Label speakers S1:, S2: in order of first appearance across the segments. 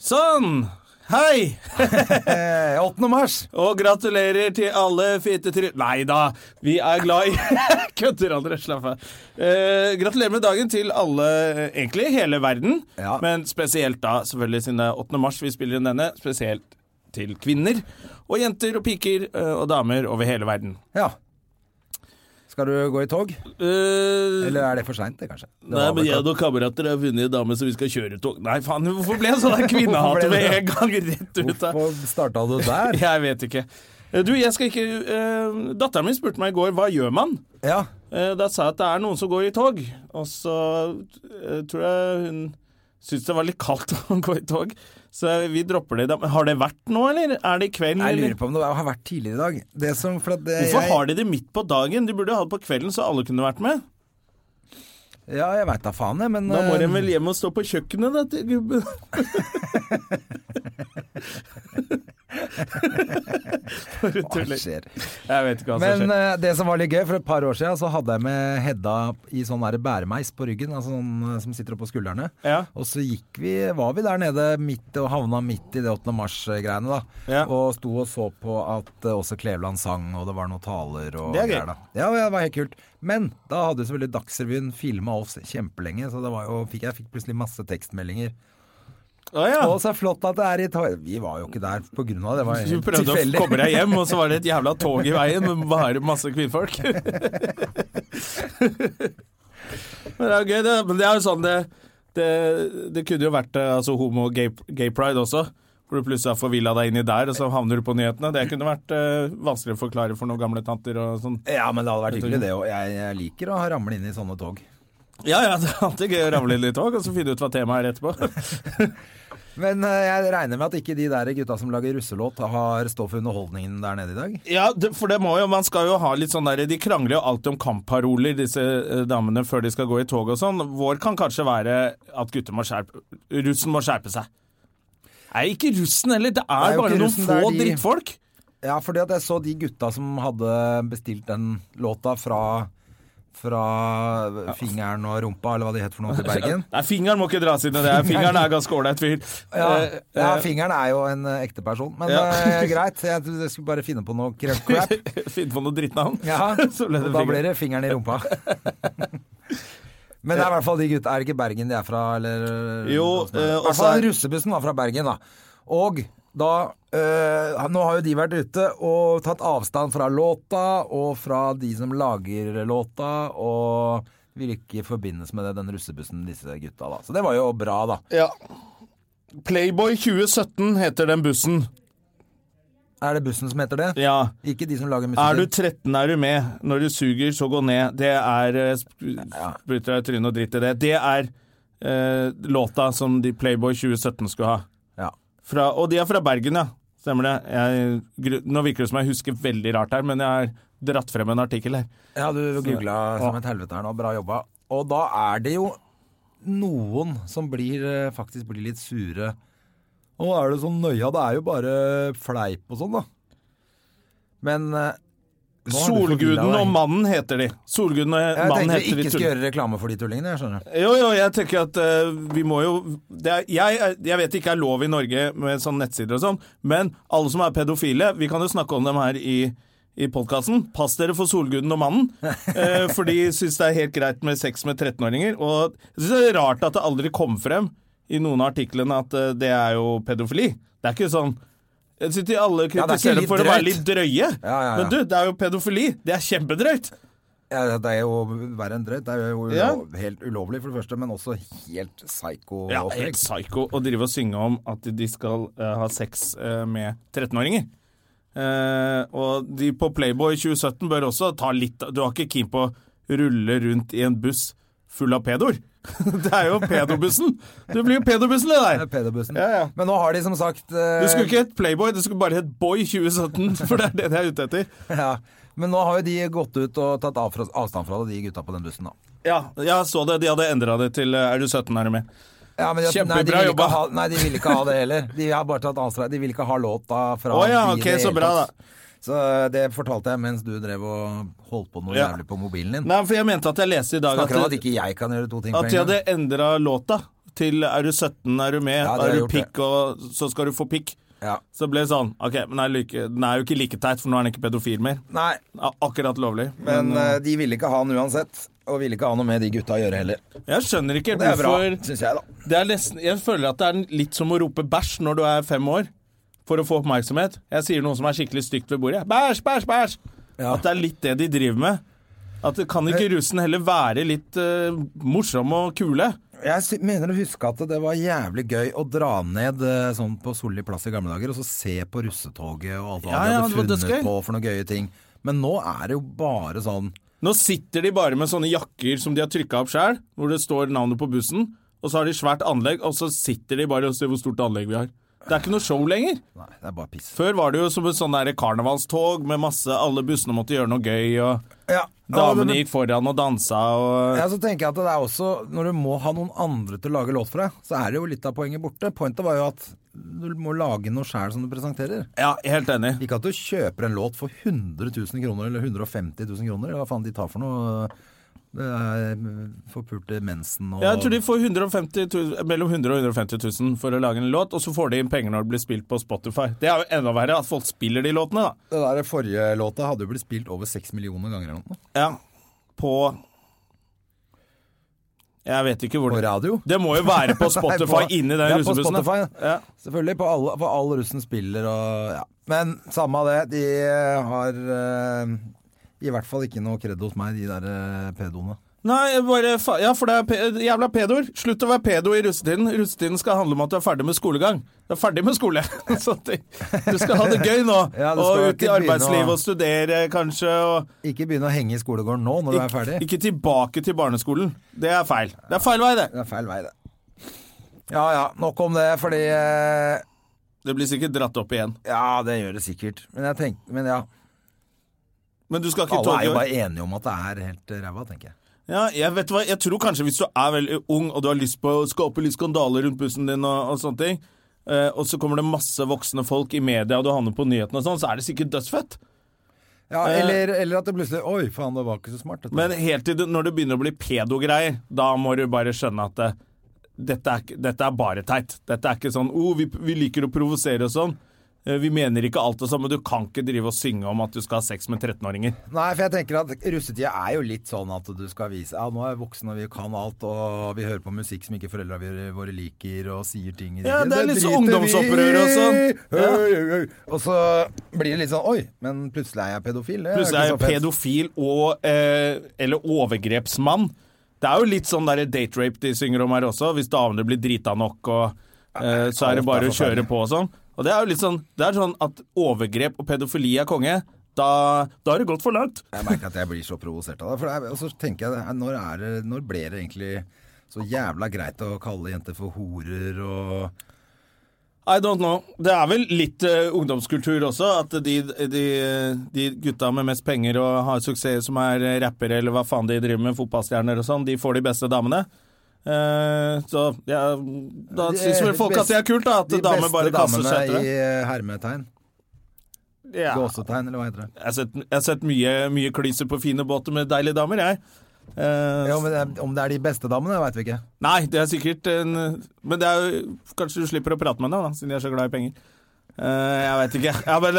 S1: Sånn! Hei!
S2: 8. mars.
S1: Og gratulerer til alle fittetryll... Nei da, vi er glad i Kødder aldri, slapp av. Eh, gratulerer med dagen til alle, eh, egentlig, hele verden.
S2: Ja.
S1: Men spesielt da, selvfølgelig siden det er 8. mars vi spiller inn denne, spesielt til kvinner. Og jenter og piker eh, og damer over hele verden.
S2: Ja. Skal du gå i tog?
S1: Eh,
S2: Eller er det for seint, det, kanskje? Det
S1: Nei,
S2: var
S1: men
S2: vel-
S1: jeg og noen kamerater har funnet en dame som vi skal kjøre tog Nei, faen, hvorfor ble jeg sånn der kvinnehat
S2: Hvorfor ble
S1: med
S2: det
S1: en gang rett ut av
S2: Hvorfor starta du der?
S1: Jeg vet ikke. Eh, Du, jeg skal ikke eh, Datteren min spurte meg i går hva gjør man?
S2: Ja.
S1: Eh, da sa jeg at det er noen som går i tog. Og så eh, tror jeg hun syntes det var litt kaldt å gå i tog, så vi dropper det. i dag. Men Har det vært nå, eller? Er det i kveld?
S2: Jeg lurer
S1: Eller?
S2: på om det har vært tidligere i dag. Det som, for at det,
S1: Hvorfor har de det midt på dagen? De burde ha det på kvelden, så alle kunne vært med.
S2: Ja, jeg veit da faen, jeg, men
S1: Da må
S2: eh,
S1: de vel hjem og stå på kjøkkenet, da, til gubben. Bare
S2: hva
S1: tuller.
S2: skjer?
S1: Jeg vet ikke hva som
S2: Men
S1: skjer.
S2: eh, det som var litt gøy, for et par år siden så hadde jeg med Hedda i sånn der bæremeis på ryggen, altså sånn eh, som sitter oppå skuldrene.
S1: Ja.
S2: Og så gikk vi, var vi der nede midt og havna midt i det 8. mars-greiene, da.
S1: Ja.
S2: Og sto og så på at eh, også Kleveland sang, og det var noen taler og
S1: Det er gøy.
S2: greier, da. Ja, det var helt kult. Men da hadde jo selvfølgelig Dagsrevyen filma oss kjempelenge, så det var jo, fikk, jeg fikk plutselig masse tekstmeldinger.
S1: Å ja.
S2: eh, Og så flott at det er i tog... Vi var jo ikke der på grunn av det, det var
S1: Du
S2: helt
S1: prøvde
S2: tilfeldig.
S1: å komme deg hjem, og så var det et jævla tog i veien med bare masse kvinnfolk. men det er jo gøy, det. Men det er jo sånn det Det, det kunne jo vært eh, altså, homo og gay, gay pride også. Hvor du plutselig har forvilla deg inni der, og så havner du på nyhetene. Det kunne vært eh, vanskelig å forklare for noen gamle tanter og sånn.
S2: Ja, men det hadde vært hyggelig, det òg. Jeg, jeg liker å ramle inn i sånne tog.
S1: Ja ja, det er alltid gøy å ramle inn i tog, og så finne ut hva temaet er etterpå.
S2: Men eh, jeg regner med at ikke de der gutta som lager russelåt, har stå for underholdningen der nede i dag?
S1: Ja, det, for det må jo, man skal jo ha litt sånn der De krangler jo alltid om kampparoler, disse eh, damene, før de skal gå i tog og sånn. Vår kan kanskje være at gutter må skjerpe Russen må skjerpe seg. Nei, ikke russen heller. Det er,
S2: Det er jo
S1: bare
S2: ikke
S1: noen
S2: russen, det er
S1: få
S2: de-
S1: drittfolk.
S2: Ja, fordi at jeg så de gutta som hadde bestilt den låta fra fra fingeren og rumpa, eller hva de het for noe, til Bergen.
S1: Nei, fingeren må ikke dras inn i det. Fingeren er ganske ålreit fyr.
S2: Ja,
S1: Eh,
S2: ja, fingeren er jo en eh, ekte person, men
S1: Ja.
S2: eh, greit. Jeg, trodde jeg skulle bare finne på noe crap crap.
S1: eh, Finn på noe drittnavn.
S2: Ja,
S1: Så ble det
S2: og da
S1: fingeren.
S2: blir det fingeren i rumpa. Men det er i hvert fall de gutta. Er det ikke Bergen de er fra, eller?
S1: Jo,
S2: I
S1: eh,
S2: hvert
S1: også
S2: fall
S1: er-
S2: russebussen var fra Bergen, da. Og da eh, Nå har jo de vært ute og tatt avstand fra låta, og fra de som lager låta, og vil ikke forbindes med det, den russebussen, disse gutta, da. Så det var jo bra, da.
S1: Ja. Playboy 2017 heter den bussen.
S2: Er det bussen som heter det?
S1: Ja.
S2: Ikke de som lager
S1: Er du
S2: musikk?
S1: 13, er du med. Når du suger, så gå ned. Det er eh, sp- Spruter deg i trynet og dritt i det. Det er eh, låta som de Playboy 2017 skulle ha.
S2: Ja.
S1: Fra, og de er fra Bergen, ja. Stemmer det. Jeg, gru- nå virker det som jeg husker veldig rart her, men jeg har dratt frem en artikkel her.
S2: Ja, du googla som et helvete her nå. Bra jobba. Og da er det jo noen som blir, eh, faktisk blir litt sure. Og er det sånn nøya? Det er jo bare fleip og sånn, da. Men eh, nå har du forvillet
S1: Solguden
S2: deg.
S1: og mannen heter de. Solguden og
S2: Jeg
S1: mannen
S2: tenkte
S1: heter de.
S2: vi ikke
S1: tull-
S2: skulle gjøre reklame for de tullingene, jeg skjønner.
S1: Jo, jo, jeg tenker at eh, vi må jo det er, jeg, jeg vet det ikke er lov i Norge med sånne nettsider og sånn, men alle som er pedofile, vi kan jo snakke om dem her i, i podkasten. Pass dere for solguden og mannen, eh, for de syns det er helt greit med sex med 13-åringer. Og jeg syns det er rart at det aldri kom frem i noen av artiklene at eh, det er jo pedofili. Det er ikke sånn jeg synes de alle
S2: Ja, det er ikke
S1: kritiserer
S2: litt
S1: for å være
S2: drøyt.
S1: litt drøye,
S2: Ja, ja, ja.
S1: men du, det er jo pedofili. Det er kjempedrøyt.
S2: Ja, det er jo verre enn drøyt. Det er jo ulo
S1: Ja.
S2: helt ulovlig, for det første, men også helt psycho.
S1: Ja,
S2: opplegg.
S1: helt psyko å drive og synge om at de skal eh, ha sex eh, med 13-åringer. Eh, og de på Playboy 2017 bør også ta litt Du var ikke keen på å rulle rundt i en buss full av pedoer. Det er jo pedobussen! Du blir jo pedobussen, det
S2: Det
S1: der!
S2: er pedobussen.
S1: Ja, ja.
S2: Men nå har de som sagt eh,
S1: Du skulle ikke hett Playboy, du skulle bare hett Boy 2017, for det er det jeg er ute etter.
S2: ja. Men nå har jo de gått ut og tatt avfra- avstand fra det, de gutta på den bussen, da.
S1: Ja, jeg så det. De hadde endra det til eh, Er du 17, er du med?
S2: Ja, men jeg-
S1: Kjempebra
S2: nei, de ville ikke
S1: jobba.
S2: Ha, nei, de ville ikke ha det heller. De har bare tatt avstand. De ville ikke ha låta fra
S1: Å ja,
S2: de i
S1: ok,
S2: det
S1: så
S2: hele
S1: bra
S2: tatt. Så eh, det fortalte jeg mens du drev og holdt på noe
S1: Ja.
S2: jævlig på mobilen din.
S1: Nei, for jeg mente at jeg leste i dag at,
S2: Snakker om at ikke jeg kan gjøre to ting på
S1: at de
S2: en
S1: hadde
S2: gang.
S1: endra låta til Er du 17, er du med,
S2: Ja, de har
S1: er du
S2: gjort det.
S1: pikk, og så skal du få pikk.
S2: Ja.
S1: Så det ble det sånn OK, men den er, like, den er jo ikke like teit, for nå er den ikke pedofil mer.
S2: Nei,
S1: Ja, Akkurat lovlig.
S2: men eh, de ville ikke ha han uansett. Og ville ikke ha noe med de gutta å gjøre heller.
S1: Jeg skjønner ikke
S2: Det er bra,
S1: hvorfor
S2: syns jeg, da.
S1: Det er nesten, jeg føler at det er litt som å rope bæsj når du er fem år, for å få oppmerksomhet. Jeg sier noe som er skikkelig stygt ved bordet. jeg. Bæsj, bæsj, bæsj!
S2: Ja. Eh.
S1: At det er litt det de driver med. At det Kan ikke russen heller være litt eh, morsom og kule?
S2: Jeg sy- mener å huske at det var jævlig gøy å dra ned eh, sånn på Solli plass i gamle dager og så se på russetoget og alt
S1: Ja,
S2: hva de
S1: ja,
S2: hadde
S1: det var dødsgøy.
S2: funnet på for noen gøye ting. Men nå er det jo bare sånn
S1: Nå sitter de bare med sånne jakker som de har trykka opp sjøl, hvor det står navnet på bussen, og så har de svært anlegg, og så sitter de bare og ser hvor stort anlegg vi har. Det er ikke noe show lenger.
S2: Nei, det er bare piss.
S1: Før var det jo som et sånn der karnevalstog med masse Alle bussene måtte gjøre noe gøy, og
S2: Ja,
S1: damene gikk foran og dansa og
S2: Ja, så tenker jeg at det er også Når du må ha noen andre til å lage låt for deg, så er det jo litt av poenget borte. Pointet var jo at du må lage noe sjæl som du presenterer.
S1: Ja, helt enig.
S2: Ikke at du kjøper en låt for 100 000 kroner eller 150 000 kroner, eller hva faen de tar for noe. Det er eh, forpulte mensen og
S1: Jeg tror de får 150 000, mellom 100 og 150 000 for å lage en låt, og så får de inn penger når det blir spilt på Spotify. Det er jo enda verre at folk spiller de låtene, da.
S2: Det der forrige låta hadde jo blitt spilt over seks millioner ganger eller noe.
S1: Ja. På Jeg vet ikke hvor
S2: På
S1: det
S2: radio.
S1: Det må jo være på Spotify
S2: Nei, på-
S1: inni den
S2: Ja, på
S1: russebussen. da.
S2: Spotify,
S1: Ja.
S2: Selvfølgelig. På alle, for all russen spiller og ja. Men samme av det, de har eh, i hvert fall ikke noe kred hos meg, de der eh, pedoene.
S1: Nei, jeg bare fa Ja, for det er pe jævla pedoer. Slutt å være pedo i russetiden. Russetiden skal handle om at du er ferdig med skolegang. Du er ferdig med skole. så at du skal ha det gøy nå.
S2: Ja, du skal
S1: og ut
S2: ikke
S1: i
S2: begynne å-
S1: arbeidslivet og studere, kanskje. og...
S2: Ikke begynn å henge i skolegården nå når du er
S1: Ik-
S2: ferdig.
S1: Ikke tilbake til barneskolen. Det er feil. Det er feil vei, det.
S2: Det er feil vei, det. Ja ja, nok om det, fordi eh,
S1: Det blir sikkert dratt opp igjen.
S2: Ja, det gjør det sikkert. Men jeg tenker Men ja.
S1: Men du skal ikke
S2: Alle er jo
S1: tåle
S2: bare enige om at det er helt ræva, tenker jeg.
S1: ja, jeg, vet hva, jeg tror kanskje hvis du er veldig ung og du har lyst på å skape litt skandaler rundt bussen din og, og sånne ting, eh, og så kommer det masse voksne folk i media, og du havner på nyhetene og sånn, så er det sikkert dødsfett.
S2: Ja,
S1: Eh,
S2: eller, eller at det plutselig Oi, faen, det var ikke så smart. dette.
S1: Men helt til du, når det begynner å bli pedogreier, da må du bare skjønne at eh, dette, er, ikke- dette er bare teit. Dette er ikke sånn oh, vi, vi liker å provosere og sånn. Eh, Vi mener ikke alt og sånn, men du kan ikke drive og synge om at du skal ha sex med 13-åringer.
S2: Nei, for jeg tenker at russetida er jo litt sånn at du skal vise Ja, nå er vi voksne og vi kan alt, og vi hører på musikk som ikke foreldra våre liker, og sier ting i
S1: Ja, det er litt
S2: driter
S1: sånn
S2: vi i!
S1: ungdomsopprør og sånn. Ja.
S2: Oi, oi, oi. Og så blir det litt sånn Oi, men plutselig er jeg pedofil. Det er
S1: Plutselig er jeg
S2: ikke så fett.
S1: pedofil og eh, eller overgrepsmann. Det er jo litt sånn der date rape de synger om her også, hvis damene blir drita nok og eh, så er det bare å kjøre på og sånn. Og det er jo litt sånn, det er sånn at overgrep og pedofili er konge, da, da har det gått for langt.
S2: Jeg merker at jeg blir så provosert av det. For det er, og så tenker jeg, når, er det, når ble det egentlig så jævla greit å kalle jenter for horer og
S1: I don't know. Det er vel litt eh, ungdomskultur også, at de, de, de gutta med mest penger og har suksess som er eh, rappere eller hva faen de driver med, fotballstjerner og sånn, de får de beste damene. Eh, så ja, da
S2: De
S1: syns vel folk
S2: best-
S1: at det er kult, da, at
S2: De
S1: damer
S2: beste
S1: bare kaster
S2: damene
S1: seg etter det.
S2: i hermetegn.
S1: Ja.
S2: Gåsetegn, eller hva heter det.
S1: Jeg har sett, jeg har sett mye, mye klyser på fine båter med deilige damer, jeg. Eh,
S2: Ja, men det er- om det er de beste damene, veit vi ikke.
S1: Nei, det er sikkert en Men det er jo Kanskje du slipper å prate med henne, da, siden de er så glad i penger. Eh, jeg veit ikke. Ja, men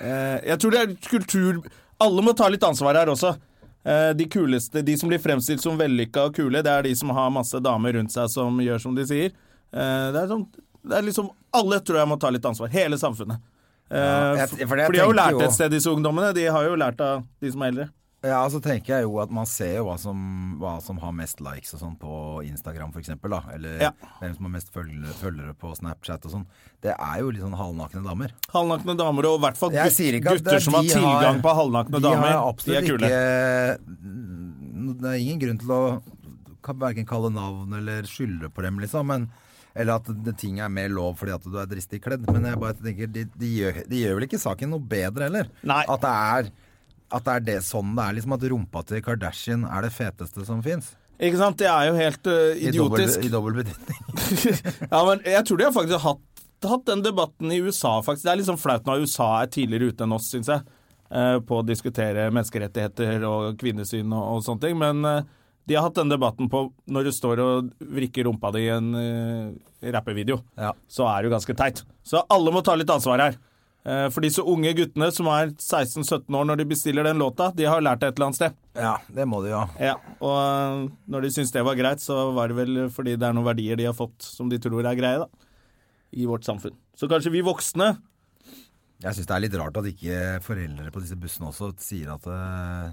S1: eh, Jeg tror det er kultur Alle må ta litt ansvar her også. Eh, de kuleste, de som blir fremstilt som vellykka og kule, det er de som har masse damer rundt seg som gjør som de sier. Eh, det, er sånn, det er liksom Alle tror jeg må ta litt ansvar. Hele samfunnet. Eh,
S2: jeg-
S1: for,
S2: for jeg
S1: de har jo
S2: tenker
S1: lært
S2: jo-
S1: et sted, disse ungdommene. De har jo lært av de som er eldre.
S2: Ja, så tenker jeg jo at man ser jo hva som, hva som har mest likes og sånn på Instagram for eksempel, da. Eller
S1: Ja.
S2: hvem som har mest følgere, følgere på Snapchat og sånn. Det er jo litt sånn halvnakne damer.
S1: Halvnakne damer, og i hvert fall
S2: Jeg
S1: gut-
S2: sier ikke at
S1: gutter
S2: det-
S1: som har
S2: de
S1: tilgang
S2: har-
S1: på halvnakne
S2: de
S1: damer,
S2: har absolutt
S1: de er kule.
S2: Ikke, det er ingen grunn til å kan verken kalle navn eller skylde på dem, liksom. Men, eller at det, ting er mer lov fordi at du er dristig kledd. Men jeg bare tenker, de, de, gjør, de gjør vel ikke saken noe bedre heller?
S1: Nei.
S2: At det er, at det er det, sånn det er. liksom At rumpa til Kardashian er det feteste som fins.
S1: Ikke sant? Det er jo helt eh, idiotisk.
S2: I dobbel betydning.
S1: ja, men jeg tror de har faktisk hatt, hatt den debatten i USA, faktisk. Det er litt sånn flaut når USA er tidligere ute enn oss, syns jeg, eh, på å diskutere menneskerettigheter og kvinnesyn og, og sånne ting. Men eh, de har hatt den debatten på når du står og vrikker rumpa di i en eh, rappevideo,
S2: Ja.
S1: så er det jo ganske teit. Så alle må ta litt ansvar her. Eh, For disse unge guttene som er 16-17 år når de bestiller den låta, de har lært det et eller annet sted.
S2: ja, det må de jo ha.
S1: Ja, og øh, når de syntes det var greit, så var det vel fordi det er noen verdier de har fått som de tror er greie, da. I vårt samfunn. Så kanskje vi voksne
S2: Jeg syns det er litt rart at ikke foreldre på disse bussene også sier at eh,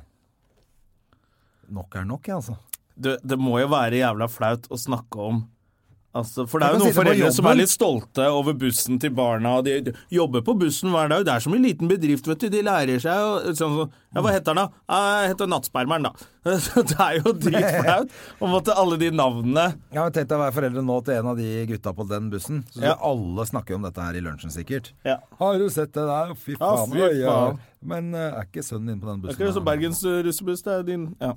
S2: nok er nok, jeg, altså.
S1: Det, det må jo være jævla flaut å snakke om altså, For det er
S2: Jeg
S1: jo noen
S2: kan si det på
S1: foreldre som
S2: jobben.
S1: er litt stolte over bussen til barna, og de de jobber på bussen hver dag. Det er som en liten bedrift, vet du. De lærer seg og sånn sånn. Ja, hva heter han, da? «Eh, Jeg heter Nattspermeren, da. Så det er jo dritflaut å måtte alle de navnene
S2: Jeg har tenkt å være foreldre nå til en av de gutta på den bussen. Så
S1: Ja.
S2: alle snakker om dette her i lunsjen, sikkert.
S1: Ja.
S2: Har du sett det der? Fy
S1: Ja,
S2: faen.
S1: fy
S2: oi, ja.
S1: faen.
S2: Men eh, er ikke sønnen din på den
S1: Det er
S2: bussen?
S1: ikke det som
S2: da?
S1: Bergens øh, russebuss, det er din Ja.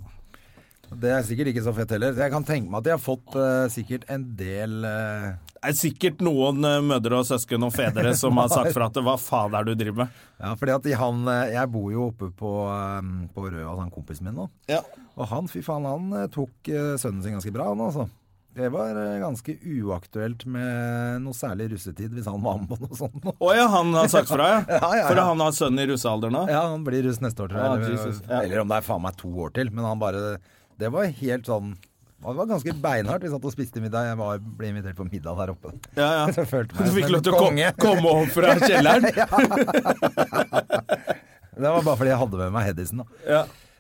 S2: Det er sikkert ikke så fett heller. Jeg kan tenke meg at de har fått eh, sikkert en del eh,
S1: Det er sikkert noen eh, mødre og søsken og fedre som har sagt fra at hva faen er det du driver med?
S2: Ja, fordi at i han eh, Jeg bor jo oppe på, eh, på Røa, han kompisen min nå.
S1: Ja.
S2: Og han, fy faen, han eh, tok eh, sønnen sin ganske bra, han altså. Det var eh, ganske uaktuelt med noe særlig russetid hvis han var med på noe sånt. nå.
S1: Å ja, han har sagt fra, ja?
S2: Ja, ja, ja.
S1: For han har sønn i russealder nå?
S2: Ja, han blir russ neste år, tror jeg.
S1: Ah,
S2: eller,
S1: Jesus, ja.
S2: eller om det er faen meg to år til. Men han bare Det var helt sånn Det var ganske beinhardt. Vi satt og spiste middag. Jeg var, ble invitert på middag der oppe.
S1: Ja, ja.
S2: Så jeg følte meg
S1: Du fikk
S2: som en
S1: lov til å kom,
S2: konge.
S1: komme opp fra kjelleren?
S2: Det var bare fordi jeg hadde med meg Hedisen, da.
S1: Ja.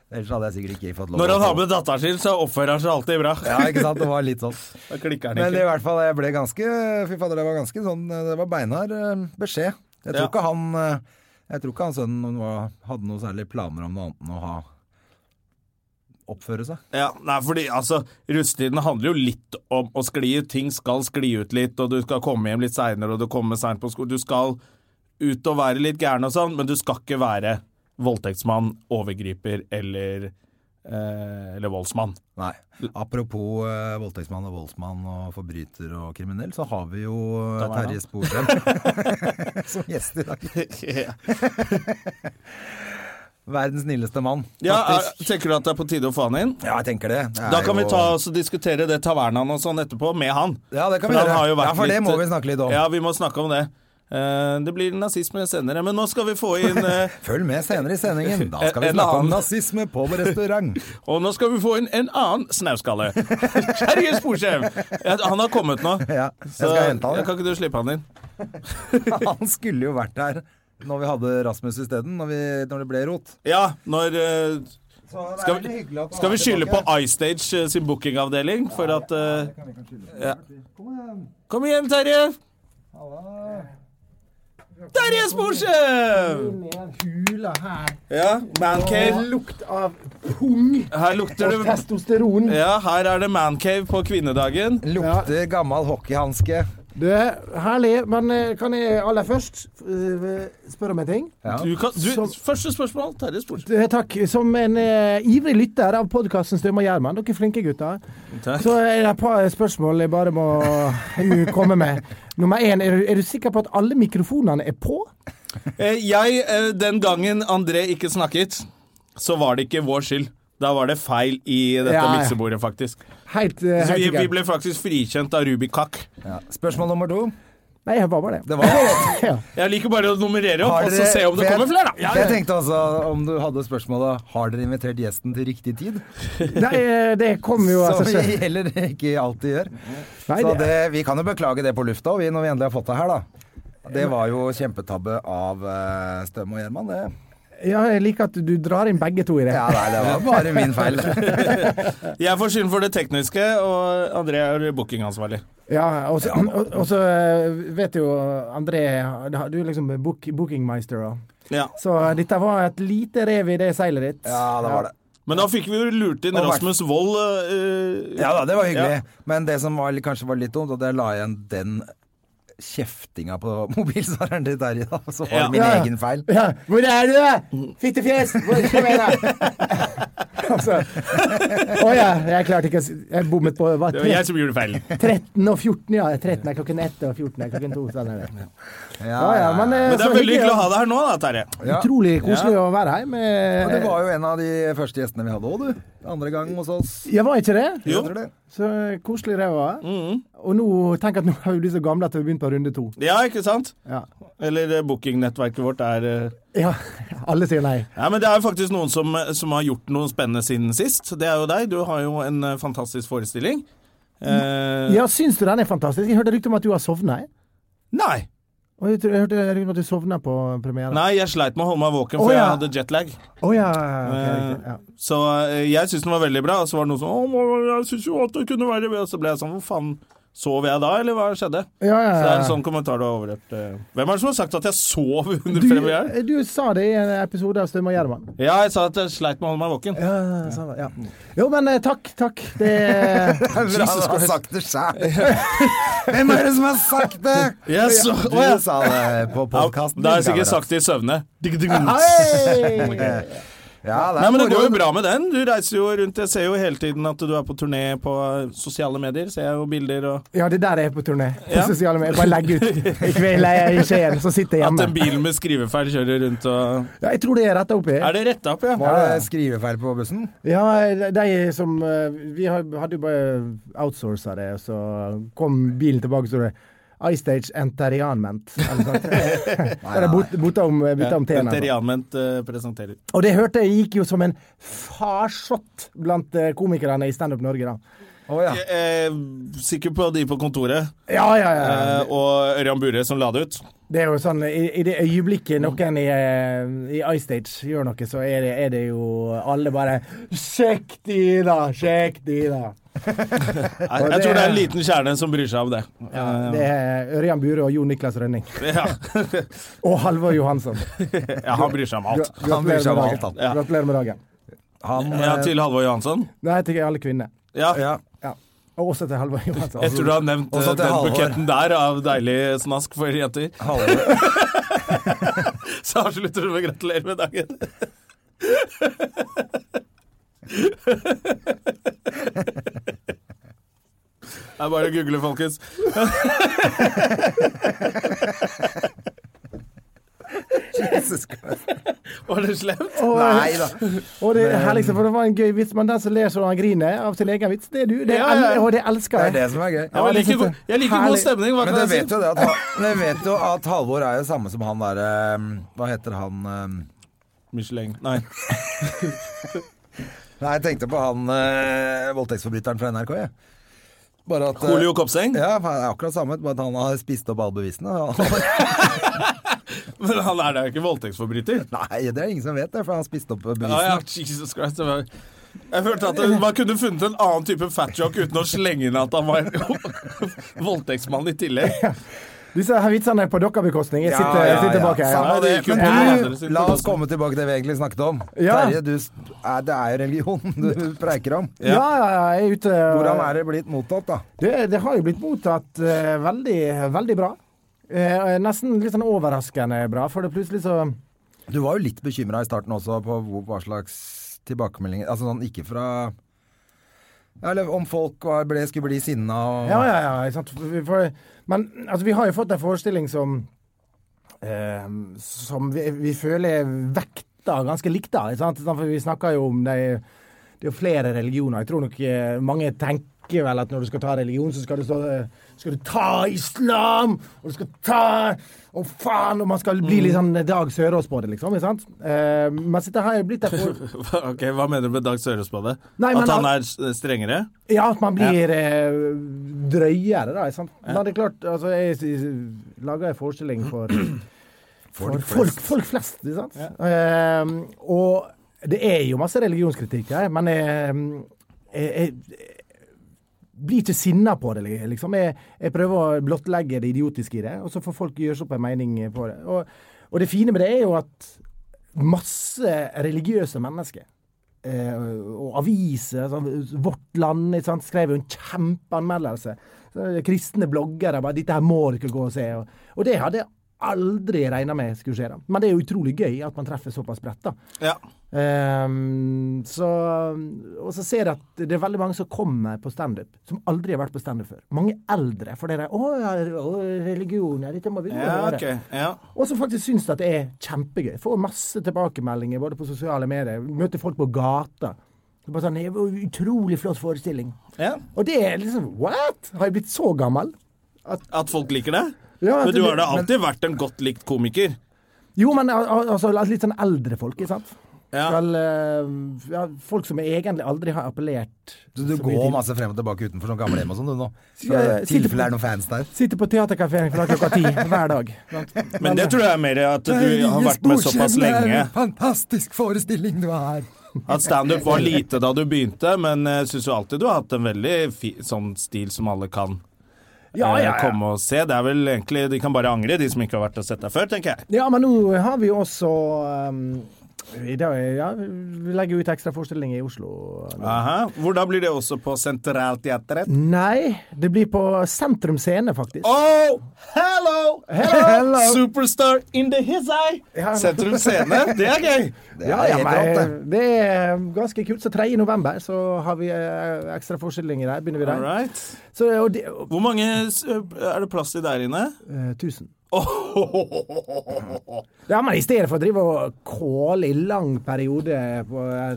S2: Ellers hadde jeg sikkert ikke fått lov.
S1: Når han
S2: å-
S1: har med datteren sin, så oppfører han seg alltid bra.
S2: Ja, ikke sant. Det var litt sånn.
S1: Da klikker han
S2: Men i
S1: ikke.
S2: hvert fall, jeg ble ganske Fy fader, det var ganske sånn Det var beinhard eh, beskjed. Jeg tror
S1: Ja.
S2: ikke han eh, Jeg tror ikke han sønnen var- hadde noe særlig planer om noe annet enn å ha oppføre seg.
S1: Ja, nei, fordi altså, russetiden handler jo litt om å skli ut. Ting skal skli ut litt, og du skal komme hjem litt seinere, og du kommer seint på skolen. Du skal ut og være litt gæren og sånn, men du skal ikke være voldtektsmann, overgriper eller, eh, eller voldsmann.
S2: Nei. Apropos eh, voldtektsmann og voldsmann og forbryter og kriminell, så har vi jo eh,
S1: Da var det
S2: Terje Sporsem som gjest i dag. Verdens snilleste mann,
S1: Ja, er,
S2: faktisk.
S1: Tenker du at det er på tide å få han inn?
S2: Ja, jeg tenker det. Det er
S1: Da kan vi
S2: jo-
S1: ta oss og diskutere det tavernaen og sånn etterpå med han.
S2: Ja, det kan
S1: For
S2: vi
S1: han
S2: gjøre.
S1: har jo vært
S2: Ja, for det
S1: litt-
S2: må vi snakke litt om.
S1: Ja, vi må snakke om det. Eh, det blir nazisme senere, men nå skal vi få inn eh,
S2: Følg med senere i sendingen. Da skal vi
S1: En
S2: snakke om
S1: annen.
S2: nazisme på restaurant.
S1: Og nå skal vi få inn en annen snauskalle. Terje Sporsem! Ja, Han har kommet nå.
S2: Ja, jeg
S1: Så
S2: skal hente han,
S1: ja,
S2: jeg.
S1: Kan ikke du slippe han inn?
S2: Han skulle jo vært der når vi hadde Rasmus isteden, når, vi- når det ble rot.
S1: Ja, når eh, skal, vi, skal vi skylde på iStage eh, sin bookingavdeling for at eh, ja. Kom igjen, Terje! Terje Sporsem!
S3: med den hula her.
S1: Ja, mancave.
S3: Lukt av pung
S1: Her lukter
S3: og
S1: det
S3: testosteron.
S1: Ja, her er det mancave på kvinnedagen.
S2: Lukter gammel hockeyhanske.
S3: Det er herlig, men eh, kan jeg aller først eh, spørre om en ting?
S2: Ja.
S1: Du kan, du,
S3: Som-
S1: første spørsmål, Terje Sporsem.
S3: Eh, Takk. Som en eh, ivrig lytter av podkasten Støm og Gjerman, dere er flinke gutter,
S1: Takk.
S3: så er det et par spørsmål jeg bare må eh, komme med. Nummer én, er du, er du sikker på at alle mikrofonene er på?
S1: Eh, Jeg, eh, den gangen André ikke snakket, så var det ikke vår skyld. Da var det feil i dette
S3: Ja, ja.
S1: miksebordet, faktisk.
S3: Helt, eh,
S1: Så
S3: helt
S1: vi, vi
S3: sikkert.
S1: ble faktisk frikjent av Ruby Kakk.
S2: Ja. Spørsmål nummer to.
S3: Nei, jeg var bare det.
S2: Det var
S3: Ja.
S1: Jeg liker bare å nummerere opp,
S2: Har
S1: og så
S2: dere-
S1: se om det
S2: for jeg-
S1: kommer flere, da.
S2: for Jeg tenkte altså om du hadde spørsmålet Har dere invitert gjesten til riktig tid?
S3: Det, eh, det kom jo av
S2: Som
S3: seg selv.
S2: vi heller ikke alltid gjør.
S3: Nei,
S2: Så
S3: det-
S2: det, vi kan jo beklage det på lufta og vi, når vi endelig har fått det her, da. Det var jo kjempetabbe av eh, Støm og Gjerman, det.
S3: Ja, jeg liker at du drar inn begge to i det.
S2: Ja, nei, det var bare min feil.
S1: Jeg får skylden for det tekniske, og André er bookingansvarlig.
S3: Ja, og så, og, og så eh, vet jo André, du er liksom book, bookingmeister. da. eh,
S1: Ja.
S3: Så dette var et lite rev i det seilet ditt.
S2: Ja, det var det.
S1: Men da fikk vi jo lurt inn
S2: Og vært-
S1: Rasmus Wold. eh,
S2: Ja da, det var hyggelig.
S1: Ja.
S2: Men det som var, litt- kanskje var litt dumt, at jeg la igjen den kjeftinga på mobilsvareren til Terje, da. Så var
S1: Ja.
S2: det min
S3: Ja, ja.
S2: egen feil.
S3: Ja. Hvor er du? Fittefjes! Hvor kom igjen, da! altså. Å ja, jeg klarte ikke å si Jeg bommet på hva,
S1: Det var jeg som gjorde feilen.
S3: 13 og 14, ja. 13 er klokken 1, og 14 er klokken 2. Sånn er det. Ja, ja, men, eh,
S1: Men det
S3: så
S1: er veldig hyggelig å
S3: ja.
S1: ha deg her nå, da, Terje.
S2: Ja.
S3: Utrolig koselig å være her. Med,
S2: Og du var jo en av de første gjestene vi hadde òg, du. Andre gang hos oss.
S3: Jeg var ikke det?
S1: Jo.
S2: Tror du det?
S3: Så eh, koselig det var. Og nå tenk at nå er vi så gamle at vi har begynt på runde to.
S1: Mm. Ja, ikke sant?
S3: Ja.
S1: Eller eh, bookingnettverket vårt er eh,
S3: ja. Alle sier nei.
S1: Ja, men Det er jo faktisk noen som, eh, som har gjort noe spennende siden sist. Det er jo deg. Du har jo en eh, fantastisk forestilling. Eh,
S3: Ja, syns du den er fantastisk? Jeg hørte rykte om at du har sovna. jeg.
S1: Nei!
S3: Og jeg, tror- jeg hørte rykte om at du sovna på premieren.
S1: Nei, jeg sleit med å holde meg våken,
S3: Å,
S1: for jeg
S3: ja.
S1: hadde jetlag.
S3: Å ja.
S1: Eh,
S3: ok, riktig, ja.
S1: Så eh, jeg syns den var veldig bra. Og så var det noen som Å, men jeg syns jo at det kunne være bedre. Og så ble jeg sånn Hvor faen sov jeg da, eller hva skjedde?
S3: Ja, ja,
S1: Så det er en
S3: ja.
S1: sånn kommentar du har overhørt. eh. Hvem er det som har sagt at jeg sov under premieren?
S3: Du, du sa det i en episode av Støm og Gjerman.
S1: Ja, jeg sa at jeg sleit med å holde meg våken.
S3: Ja, sa det, ja. Jo, men eh, takk, takk. Det eh,
S2: Det er Bra, du har sagt det sjæl. Hvem er det som har sagt det?
S1: Jeg så-
S2: Du
S1: Å, ja.
S2: sa det på
S1: Ja,
S2: podkasten.
S1: Da har jeg sikkert sagt det i søvne. Digg, digg, digg.
S3: Hei!
S2: Ja, det
S1: Nei,
S2: er
S1: men Det går jo
S2: moro.
S1: bra med den. Du reiser jo rundt. Jeg ser jo hele tiden at du er på turné på eh, sosiale medier. Ser jeg jo bilder og
S3: Ja, det der er jeg på turné. På
S1: Ja.
S3: sosiale medier. Bare legge ut. I kveld er jeg i Skien, så sitter jeg
S1: At en
S3: hjemme.
S1: bil med skrivefeil kjører rundt og
S3: Ja, jeg tror det er retta opp i.
S1: Er det retta opp, ja?
S2: Var det skrivefeil på bussen?
S3: Ja, de som eh, Vi har- hadde jo bare outsourca det, så kom bilen tilbake, så det iStage Enterianment. eller noe sånt. Der er bot- Bota om, bytta om
S1: Ja,
S3: T-en. altså.
S1: Interianment eh, presenterer.
S3: Og det hørte jeg gikk jo som en farsott blant eh, komikerne i Standup Norge, da.
S2: Å ja.
S1: Jeg er sikker på de på kontoret
S3: Ja, ja, ja.
S1: eh, og Ørjan Bure som la det ut.
S3: Det er jo sånn, i, i det øyeblikket noen i, eh, i iStage gjør noe, så er det, er det jo alle bare Sjekk de, da! Sjekk de, da!
S1: Jeg,
S3: Og
S1: jeg
S3: det-
S1: tror det er en liten kjerne som bryr seg om det. Eh,
S3: Ja, det er Ørjan Bure og Jon Niklas Rønning.
S1: Ja,
S3: Og Halvor Johansson.
S1: ja Han bryr seg om alt.
S3: Gratulerer
S2: bryr seg
S3: med
S2: om
S3: dagen.
S2: alt,
S1: han. Ja.
S3: Gratulerer med dagen.
S2: Han
S1: Ja,
S2: eh,
S1: til Halvor Johansson.
S3: Nei, til alle kvinner.
S1: Ja.
S2: ja.
S3: Ja. Og også til Halvor Johansson.
S1: Jeg tror du har nevnt eh,
S2: Også til
S1: den
S2: Halvor.
S1: buketten der av deilig snask for jenter.
S2: Halvor,
S1: Så avslutter du med å gratulere med dagen. Det er bare å google, folkens.
S2: Jesus Christ.
S1: Var det slemt?
S3: Og,
S2: Nei da.
S3: og det herligste, for det var en gøy vits, men den som ler så han griner av sin egen vits, det er du. Det er,
S1: Ja, ja.
S3: el- Og det elsker
S2: Det
S3: jeg.
S2: er det som er
S1: Ja,
S2: gøy.
S1: men
S3: det
S1: jeg liker,
S3: synes jeg.
S1: god- jeg liker god
S3: Herlig.
S1: stemning. Hva kan
S2: Men dere
S1: jeg
S2: vet
S1: si?
S2: jo det at, ha- dere vet jo at Halvor er jo samme som han derre mm, Hva heter han eh,
S1: Michelin. Nei.
S2: Nei, jeg tenkte på han eh, voldtektsforbryteren fra NRK, jeg. Bare at eh,
S1: Kolio Kopseng.
S2: Ja, det er akkurat samme, bare at han har spist opp alle bevisene.
S1: Men han er da ikke voldtektsforbryter.
S2: Nei, det er ingen som vet det, for han har spist opp
S1: Ja, ja,
S2: bevisene.
S1: Jesus Christ. Det var... Jeg følte at Man kunne funnet en annen type fat joke uten å slenge inn at han var en voldtektsmann i tillegg.
S3: Disse her vitsene er på deres bekostning. Jeg sitter, jeg sitter bak her.
S2: Samme
S1: Ja, det
S2: det.
S1: gikk jo på den
S2: Men
S1: andre
S2: du,
S1: siden.
S2: la oss komme tilbake til det vi egentlig snakket om.
S3: Ja.
S2: Terje, du, s- er- det er jo religion du preiker om.
S3: Ja, ja, ja, jeg er ute.
S2: Hvordan er det blitt mottatt, da?
S3: Det, det har jo blitt mottatt eh, veldig, veldig bra. Eh, nesten litt sånn overraskende bra, for det plutselig så
S2: Du var jo litt bekymra i starten også på hvor- hva slags tilbakemeldinger Altså sånn ikke fra ja, Eller om folk var, ble, skulle bli sinna og
S3: Ja, ja, ja. ikke Sant? For, for, men altså, vi har jo fått en forestilling som eh, Som vi, vi føler vekta ganske likt, da. Ikke sant? For vi snakker jo om de Det er jo flere religioner. Jeg tror nok eh, mange tenker vel at når du skal ta religion, så skal du, stå, eh, skal du ta islam! Og du skal ta Å, faen! Og man skal bli litt sånn Dag Sørås på det, liksom. Ikke sant? Eh, mens dette har jo blitt en for-
S1: Ok, Hva mener du med Dag Sørås på det?
S3: Nei, men
S1: At han
S3: han-
S1: er s- strengere?
S3: Ja, at man blir eh, drøyere, da. Ikke sant? Men det er klart, altså, jeg, jeg lager en forestilling for, for folk, folk flest. Ikke sant? Ehm, og det er jo masse religionskritikk her, men jeg, jeg, jeg blir ikke sinna på det, liksom. Jeg, jeg prøver å blottlegge det idiotiske i det, og så får folk gjøre seg opp en mening på det. Og, og det fine med det er jo at masse religiøse mennesker eh, og aviser. Sånn, Vårt Land ikke sant, skrev jo en kjempeanmeldelse. Så, Kristne bloggere bare 'Dette her må dere gå og se'. Og, og det hadde jeg aldri regna med skulle skje. da. Men det er jo utrolig gøy at man treffer såpass bredt, da.
S1: Ja.
S3: Ehm, så, og så ser jeg at det er veldig mange som kommer på standup, som aldri har vært på standup før. Mange eldre. For det er 'Å, ja, å, religion, ja, dette må vi
S1: Ja,
S3: gjøre'.
S1: ok. Ja.
S3: Og som faktisk syns at det er kjempegøy. Får masse tilbakemeldinger både på sosiale medier. Møter folk på gata. Så bare sånn, det var en Utrolig flott forestilling.
S1: ja.
S3: Og det er liksom What?! Har jeg blitt så gammel?
S1: At folk liker det?
S3: Ja, at
S1: men du
S3: det-
S1: har da alltid vært en godt likt komiker.
S3: Jo, men al- al- altså, litt sånn eldre folk, ikke sant?
S1: Ja.
S3: Skal, eh, ja, folk som egentlig aldri har appellert
S4: Du, du
S3: så mye
S4: går
S3: til.
S4: masse frem og tilbake utenfor sånn gamlehjem og sånn, du nå. Så
S3: Ja, ja,
S4: i tilfelle
S3: sitter
S4: det
S3: på-
S4: er noen fans der.
S3: Sitter på teaterkafeen fra klokka ti hver dag.
S1: Men det tror jeg er mer at du har vært med såpass lenge.
S4: Fantastisk forestilling du har.
S1: At standup var lite da du begynte, men jeg syns jo alltid du har hatt en veldig fi, sånn stil som alle kan
S3: Ja,
S1: eh,
S3: ja, ja.
S1: komme og se. Det er vel egentlig De kan bare angre, de som ikke har vært og sett deg før, tenker jeg.
S3: Ja, men nå har vi jo også ehm, i dag, ja, Vi legger jo ut ekstra forestillinger i Oslo. eh, nå.
S1: Aha. Hvor da blir det også på Sentralteatret?
S3: Nei, det blir på Sentrum Scene, faktisk.
S1: Oh, hello!
S3: Hello!
S1: Superstar in the his eye!
S3: Ja.
S1: Sentrum Scene, det er gøy!
S3: Ja, ja,
S4: helt
S3: men, det er ganske kult. Så 3. november så har vi eh, ekstra forestillinger der. Begynner vi
S1: All
S3: der.
S1: right.
S3: Så, eh, og det- og,
S1: Hvor mange s- er det plass til der inne? Oh,
S3: eh, 1000.
S1: Åh.
S3: Ja, men i stedet for å drive og kåle i lang periode på, eh,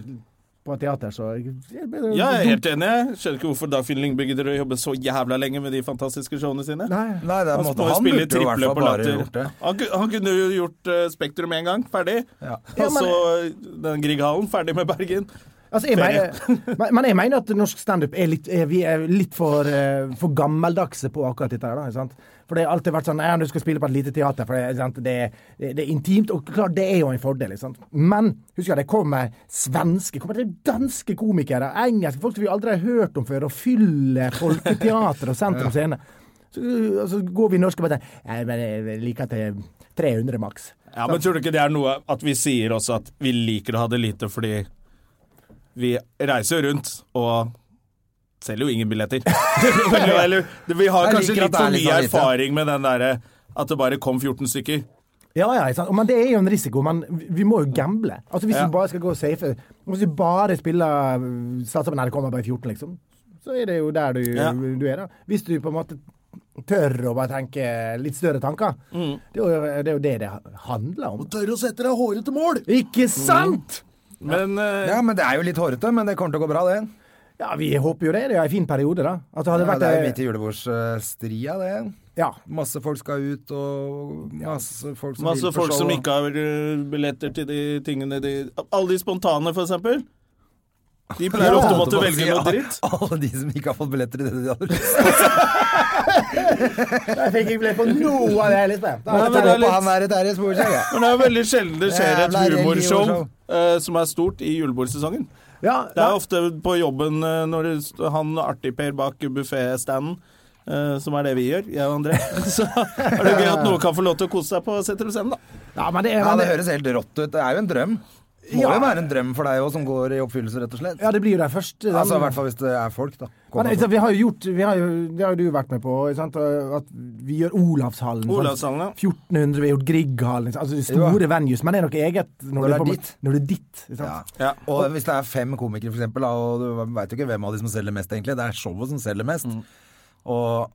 S3: på teater, så
S1: Ja, jeg er helt enig. jeg. Skjønner ikke hvorfor Dagfinn Lyngby gidder å jobbe så jævla lenge med de fantastiske showene sine.
S3: Nei.
S2: Nei, det er på en
S1: Han, må
S2: måte-
S1: jo
S2: han
S1: spille
S2: burde jo i hvert
S1: triple
S2: fall
S1: på
S2: bare
S1: latter.
S2: gjort det.
S1: Han, ku- han kunne jo gjort eh, Spektrum én gang, ferdig. Og så den Grieghallen, ferdig med Bergen.
S3: Altså, jeg
S1: Ferie.
S3: mener, men- men jeg mener at norsk standup er litt, er, vi er litt for, eh, for gammeldagse på akkurat dette. her, Da, ikke sant? For det har alltid vært sånn ja, du skal spille på et lite teater, for det, ikke sant? Det, er- det er intimt. Og klart, det er jo en fordel. Ikke sant? Men husker jeg, det kommer svenske, kommer det danske komikere, engelske, folk som vi aldri har hørt om før, og fyller Folketeatret og Sentrum Scene. Så, så går vi norske og bare «Nei, men Jeg liker at det er 300 maks.
S1: Ja, Men tror du ikke det er noe at vi sier også at vi liker å ha det lite fordi vi reiser jo rundt og selger jo ingen billetter? Eller- eller, vi har
S4: Jeg
S1: kanskje
S4: liker at
S1: litt
S4: det er
S1: for
S4: litt
S1: mye
S4: sånn lite.
S1: erfaring med den derre at det bare kom 14 stykker.
S3: Ja, ja, ikke sant? men det er jo en risiko. Men vi må jo gamble. Altså Hvis
S1: Ja.
S3: vi bare skal gå safe Hvis vi bare spiller øh, Satser på NRK kommer bare 14, liksom, så er det jo der du,
S1: Ja.
S3: du er, da. Hvis du på en måte tør å bare tenke litt større tanker. Det, er jo, det er jo det det handler om.
S4: Tør å sette deg hårete mål!
S3: Ikke sant?!
S1: Men eh,
S4: Ja, men det er jo litt hårete, men det kommer til å gå bra, det.
S3: Ja, vi håper jo det. Det er en fin periode, da. At det hadde
S4: Ja,
S3: vært
S4: det er jo
S3: eh,
S4: midt i julebordsstria, det.
S3: ja.
S4: Masse folk skal ut, og masse folk som
S1: Masse
S4: vil på
S1: folk
S4: show,
S1: som
S4: og-
S1: ikke har eh, billetter til de tingene de Alle de spontane, for eksempel. De pleier ofte å måtte
S4: Måtte bare
S1: velge
S4: si,
S1: noe
S4: ja,
S1: dritt.
S4: Alle de som ikke har fått billetter i det de hadde lyst
S3: Jeg fikk ikke bli på noe av det, Lisbeth. Da-
S1: Nei, men
S4: til.
S1: det er litt-
S4: Han der i Terje Sporseng, ja.
S1: Men det er veldig sjelden det skjer et
S4: Jævla religion-
S1: humorshow
S4: show.
S1: eh, som er stort i julebordsesongen.
S3: Ja,
S1: Det er
S3: ja.
S1: ofte på jobben eh, når det st- han artig-Per bak bufféstanden eh, som er det vi gjør, jeg og André. Så er det gøy at noen kan få lov til å kose seg på Sentrum Scene, da.
S3: ja, men det er
S4: Ja, det høres helt rått ut. Det er jo en drøm. Må
S3: Ja.
S4: jo være en drøm for deg òg, som går i oppfyllelse, rett og slett.
S3: Ja, det blir jo de første.
S4: Altså, I hvert fall hvis det er folk, da. Kom,
S3: Men,
S4: altså.
S3: altså, vi har jo gjort, vi har jo, det har jo du vært med på, ikke sant? og at vi gjør Olavshallen. sant?
S1: Olavshallen, ja.
S3: 1400, vi har gjort Grieghallen. ikke sant? Altså store venues. Men det er noe eget når,
S4: det er
S3: på en måte-
S4: ditt.
S3: Når det er ditt. Ikke
S4: Ja.
S3: sant?
S1: Ja.
S4: Og hvis det er fem komikere, for eksempel, da, og du veit jo ikke hvem av de som selger mest, egentlig. Det er showet som selger mest.
S1: Mm.
S4: Og,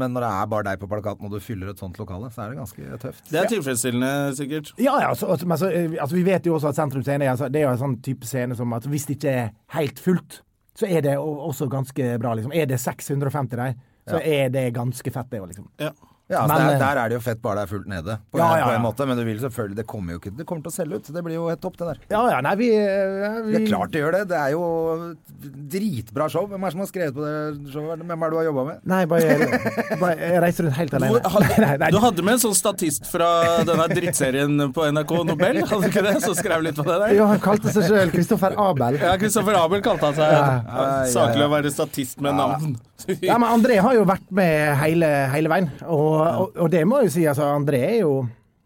S4: men når det er bare deg på plakaten, og du fyller et sånt lokale, så er det ganske tøft.
S1: Det er tilfredsstillende, sikkert.
S3: Ja, ja, så, altså, men så, eh, altså, vi vet jo også at Sentrum Scene er- altså, det er jo en sånn type scene som at hvis det ikke er helt fullt, så er det o- også ganske bra. Liksom. Er det 650 der, så er det ganske fett, det òg, liksom.
S1: Ja.
S4: Ja, altså,
S3: Men,
S4: der,
S3: eh,
S4: der er det jo fett bare det er fullt nede, på,
S3: Ja, ja,
S4: på en
S3: ja.
S4: måte. Men du vil selvfølgelig Det kommer jo ikke Det kommer til å selge ut. Det blir jo helt topp, det der.
S3: Ja ja, nei, vi, eh, vi
S4: Det er klart det gjør det. Det er jo dritbra show. Hvem er det som har skrevet på det showet? Hvem er det du har jobba med?
S3: Nei, bare, bare jeg reiser rundt helt alene.
S1: Hvor, hadde,
S3: Nei, nei, nei.
S1: Du hadde med en sånn statist fra denne drittserien på NRK Nobel, hadde du ikke det? Som skrev litt på det der?
S3: Ja, han kalte seg sjøl Kristoffer Abel.
S1: Ja, Kristoffer Abel kalte han seg. Ja,
S4: ja, ja.
S1: Saklig å være statist med navn.
S3: Ja, men André har jo vært med hele, hele veien, og, og, og det må jeg jo si. Altså, André er jo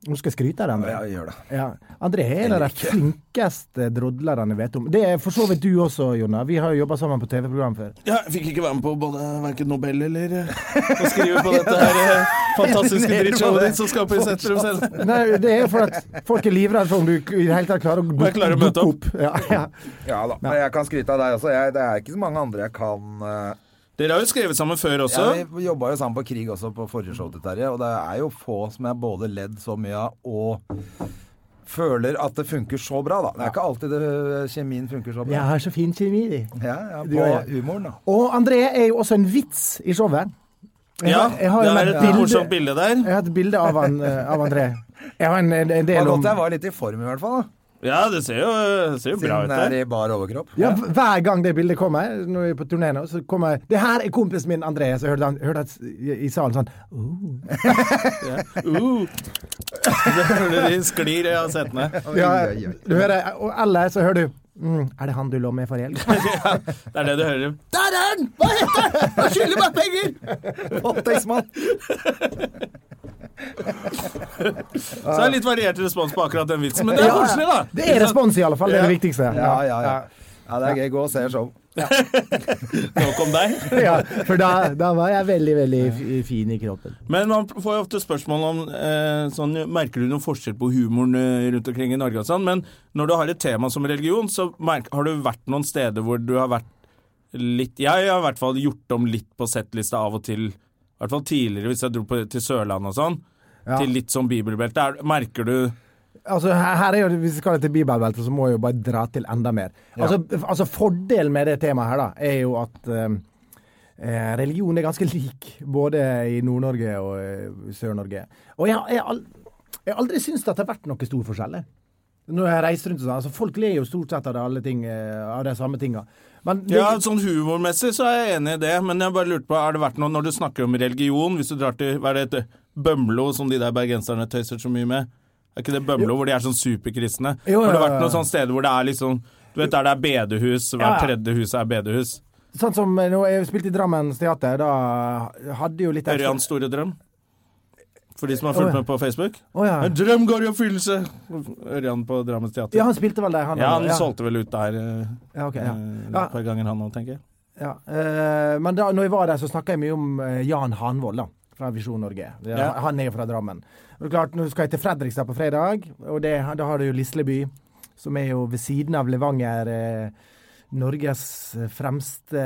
S3: Nå skal jeg skryte av deg, André.
S2: Ja, gjør det.
S3: Ja. André er en av de flinkeste drodlerne jeg vet om. Det er for så vidt du også, Jonna. Vi har jo jobba sammen på TV-program før.
S1: Ja, jeg fikk ikke være med på både verken Nobel eller eh, å skrive på dette her eh, fantastiske drittshowet ditt som skaper sentrum selv.
S3: Nei, det er for at folk er livredde for om du i det hele tatt klarer å
S1: jeg
S3: duk-
S1: klarer å møte
S3: dukke
S1: opp.
S3: Ja, ja.
S4: Ja da. Men jeg kan skryte av deg også. Jeg, det er ikke så mange andre jeg kan eh,
S1: Dere har jo skrevet sammen før også.
S4: Ja, vi jobba jo sammen på krig også på forrige show til Terje, og det er jo få som jeg både ledd så mye av og føler at det funker så bra, da. Det er ikke alltid det, eh, kjemien funker så
S3: Jeg
S4: bra.
S3: har så fin kjemi, de.
S4: Ja, ja,
S3: Du
S4: på
S3: og jeg.
S4: humoren, da.
S3: Og André er jo også en vits i showet. Jeg
S1: Ja,
S3: har- jeg har jo
S1: det er
S3: med
S1: et litt morsomt bilde der.
S3: Jeg har et bilde av, han, eh, av André. Jeg har en, en en
S4: Det var
S3: del om
S4: godt jeg var litt i form i hvert fall, da.
S1: Ja, det ser jo, det ser jo bra ut
S4: Siden jeg
S1: der.
S4: er i bar overkropp.
S3: ja, Hver gang det bildet kommer, når vi er på turné nå, så kommer Det her er kompisen min André. Så hørte han hørte han i, i salen sånn
S1: Uh. Det hører de sklir av setene.
S4: Oi,
S3: ja,
S4: oi, oi.
S3: du hører, og Eller så hører du mm, Er det han du lå med forrige helg?
S1: Ja, det er det du hører. Der er den! Hva heter den? Han skylder meg penger!
S4: Voldtektsmann!
S1: Så det er litt variert respons på akkurat den vitsen, men det er
S3: Ja, ja.
S1: koselig, da.
S3: Det er respons, i alle fall. Det er det viktigste.
S4: Ja, ja, ja. Ja, det er gøy. Gå og se show.
S1: Nok om deg.
S3: Ja, for da, da var jeg veldig, veldig f- fin i kroppen.
S1: Men man får jo ofte spørsmål om eh, sånn, Merker du noen forskjell på humoren eh, rundt omkring i Norge og sånn? Men når du har et tema som religion, så merk, har du vært noen steder hvor du har vært litt Jeg har i hvert fall gjort om litt på settlista av og til. I hvert fall tidligere, hvis jeg dro på, til Sørlandet og sånn.
S3: Ja.
S1: Til litt sånn bibelbelte. Er- Merker du
S3: Altså, her, her er jo, Hvis vi skal til bibelbeltet, så må jeg jo bare dra til enda mer. Altså, f- altså Fordelen med det temaet her da, er jo at eh, eh, religion er ganske lik både i Nord-Norge og eh, Sør-Norge. Og jeg, jeg, har al- jeg har aldri syntes at det har vært noen stor forskjell. jeg. Når jeg har reist rundt og sånn, altså Folk ler jo stort sett av, det, alle ting, eh, av de samme tinga. Men det,
S1: Ja, sånn humormessig så er jeg enig i det, men jeg bare lurte på, er det vært noe når du snakker om religion, hvis du drar til, hva er det heter, Bømlo, som de der bergenserne tøyser så mye med? Er ikke det Bømlo hvor de er sånn superkristne?
S3: Jo,
S1: Har det
S3: ja,
S1: vært
S3: ja,
S1: noen
S3: ja.
S1: sånne steder hvor det er liksom, du vet der det er bedehus, hver
S3: Ja, ja.
S1: tredje hus er bedehus?
S3: sånn som eh, når jeg spilte i Drammens Teater, da hadde jo litt
S1: Ørjans store drøm? For de som har
S3: Å,
S1: fulgt
S3: ja.
S1: med på Facebook?
S3: Å, ja.
S1: En drøm går i oppfyllelse! Ørjan på Drammens Teater.
S3: Ja,
S1: Ja,
S3: han spilte vel det, han.
S1: han solgte vel ut der eh,
S3: Ja, ok,
S1: eh,
S3: ja.
S1: et
S3: Ja.
S1: par ganger han nå, tenker jeg.
S3: Ja, eh, men da når jeg var der, så snakka jeg mye om eh, Jan Hanvold, da. Fra Visjon Norge. Det er-
S1: Ja.
S3: Han er jo fra Drammen. Og det er klart, Nå skal jeg til Fredrikstad på fredag, og det, da har du jo Lisleby, som er jo ved siden av Levanger eh, Norges fremste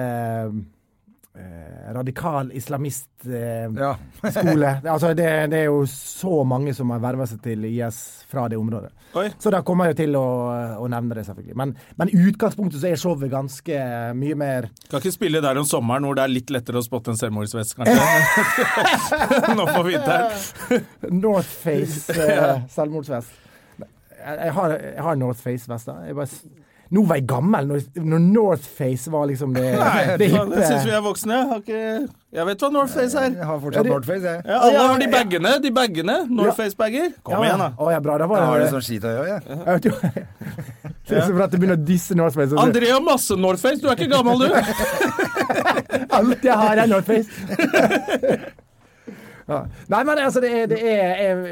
S3: eh, radikal islamist eh,
S4: Ja.
S3: skole. Altså, det, det er jo så mange som har verva seg til IS fra det området.
S1: Oi.
S3: Så da kommer jeg jo til å, å nevne det, selvfølgelig. Men, men i utgangspunktet så er showet ganske mye mer
S1: Skal ikke spille der om sommeren hvor det er litt lettere å spotte en selvmordsvest, kanskje. Nå på vinteren.
S3: Northface uh, selvmordsvest. Jeg, jeg har, jeg har Northface-vest. da. Jeg bare s- Nå var jeg gammel, når, når Northface var liksom det,
S1: Nei,
S3: det hippe.
S1: jeg syns vi er voksne. Jeg, har ikke... jeg vet hva Northface er.
S4: Jeg har fortsatt Northface, jeg.
S1: Ja, alle har de bagene. De bagene. Northface-bager. Kom igjen, da.
S3: Å, ja, bra. Da var
S4: Jeg har det
S3: det,
S4: sånn skitøy òg, jeg.
S3: jeg vet jo- Det er så bra at du begynner å disse Northface. og så-
S1: André har masse Northface. Du er ikke gammel, du.
S3: Alt jeg har, er Northface. ja. Nei, men altså, det er, det er, er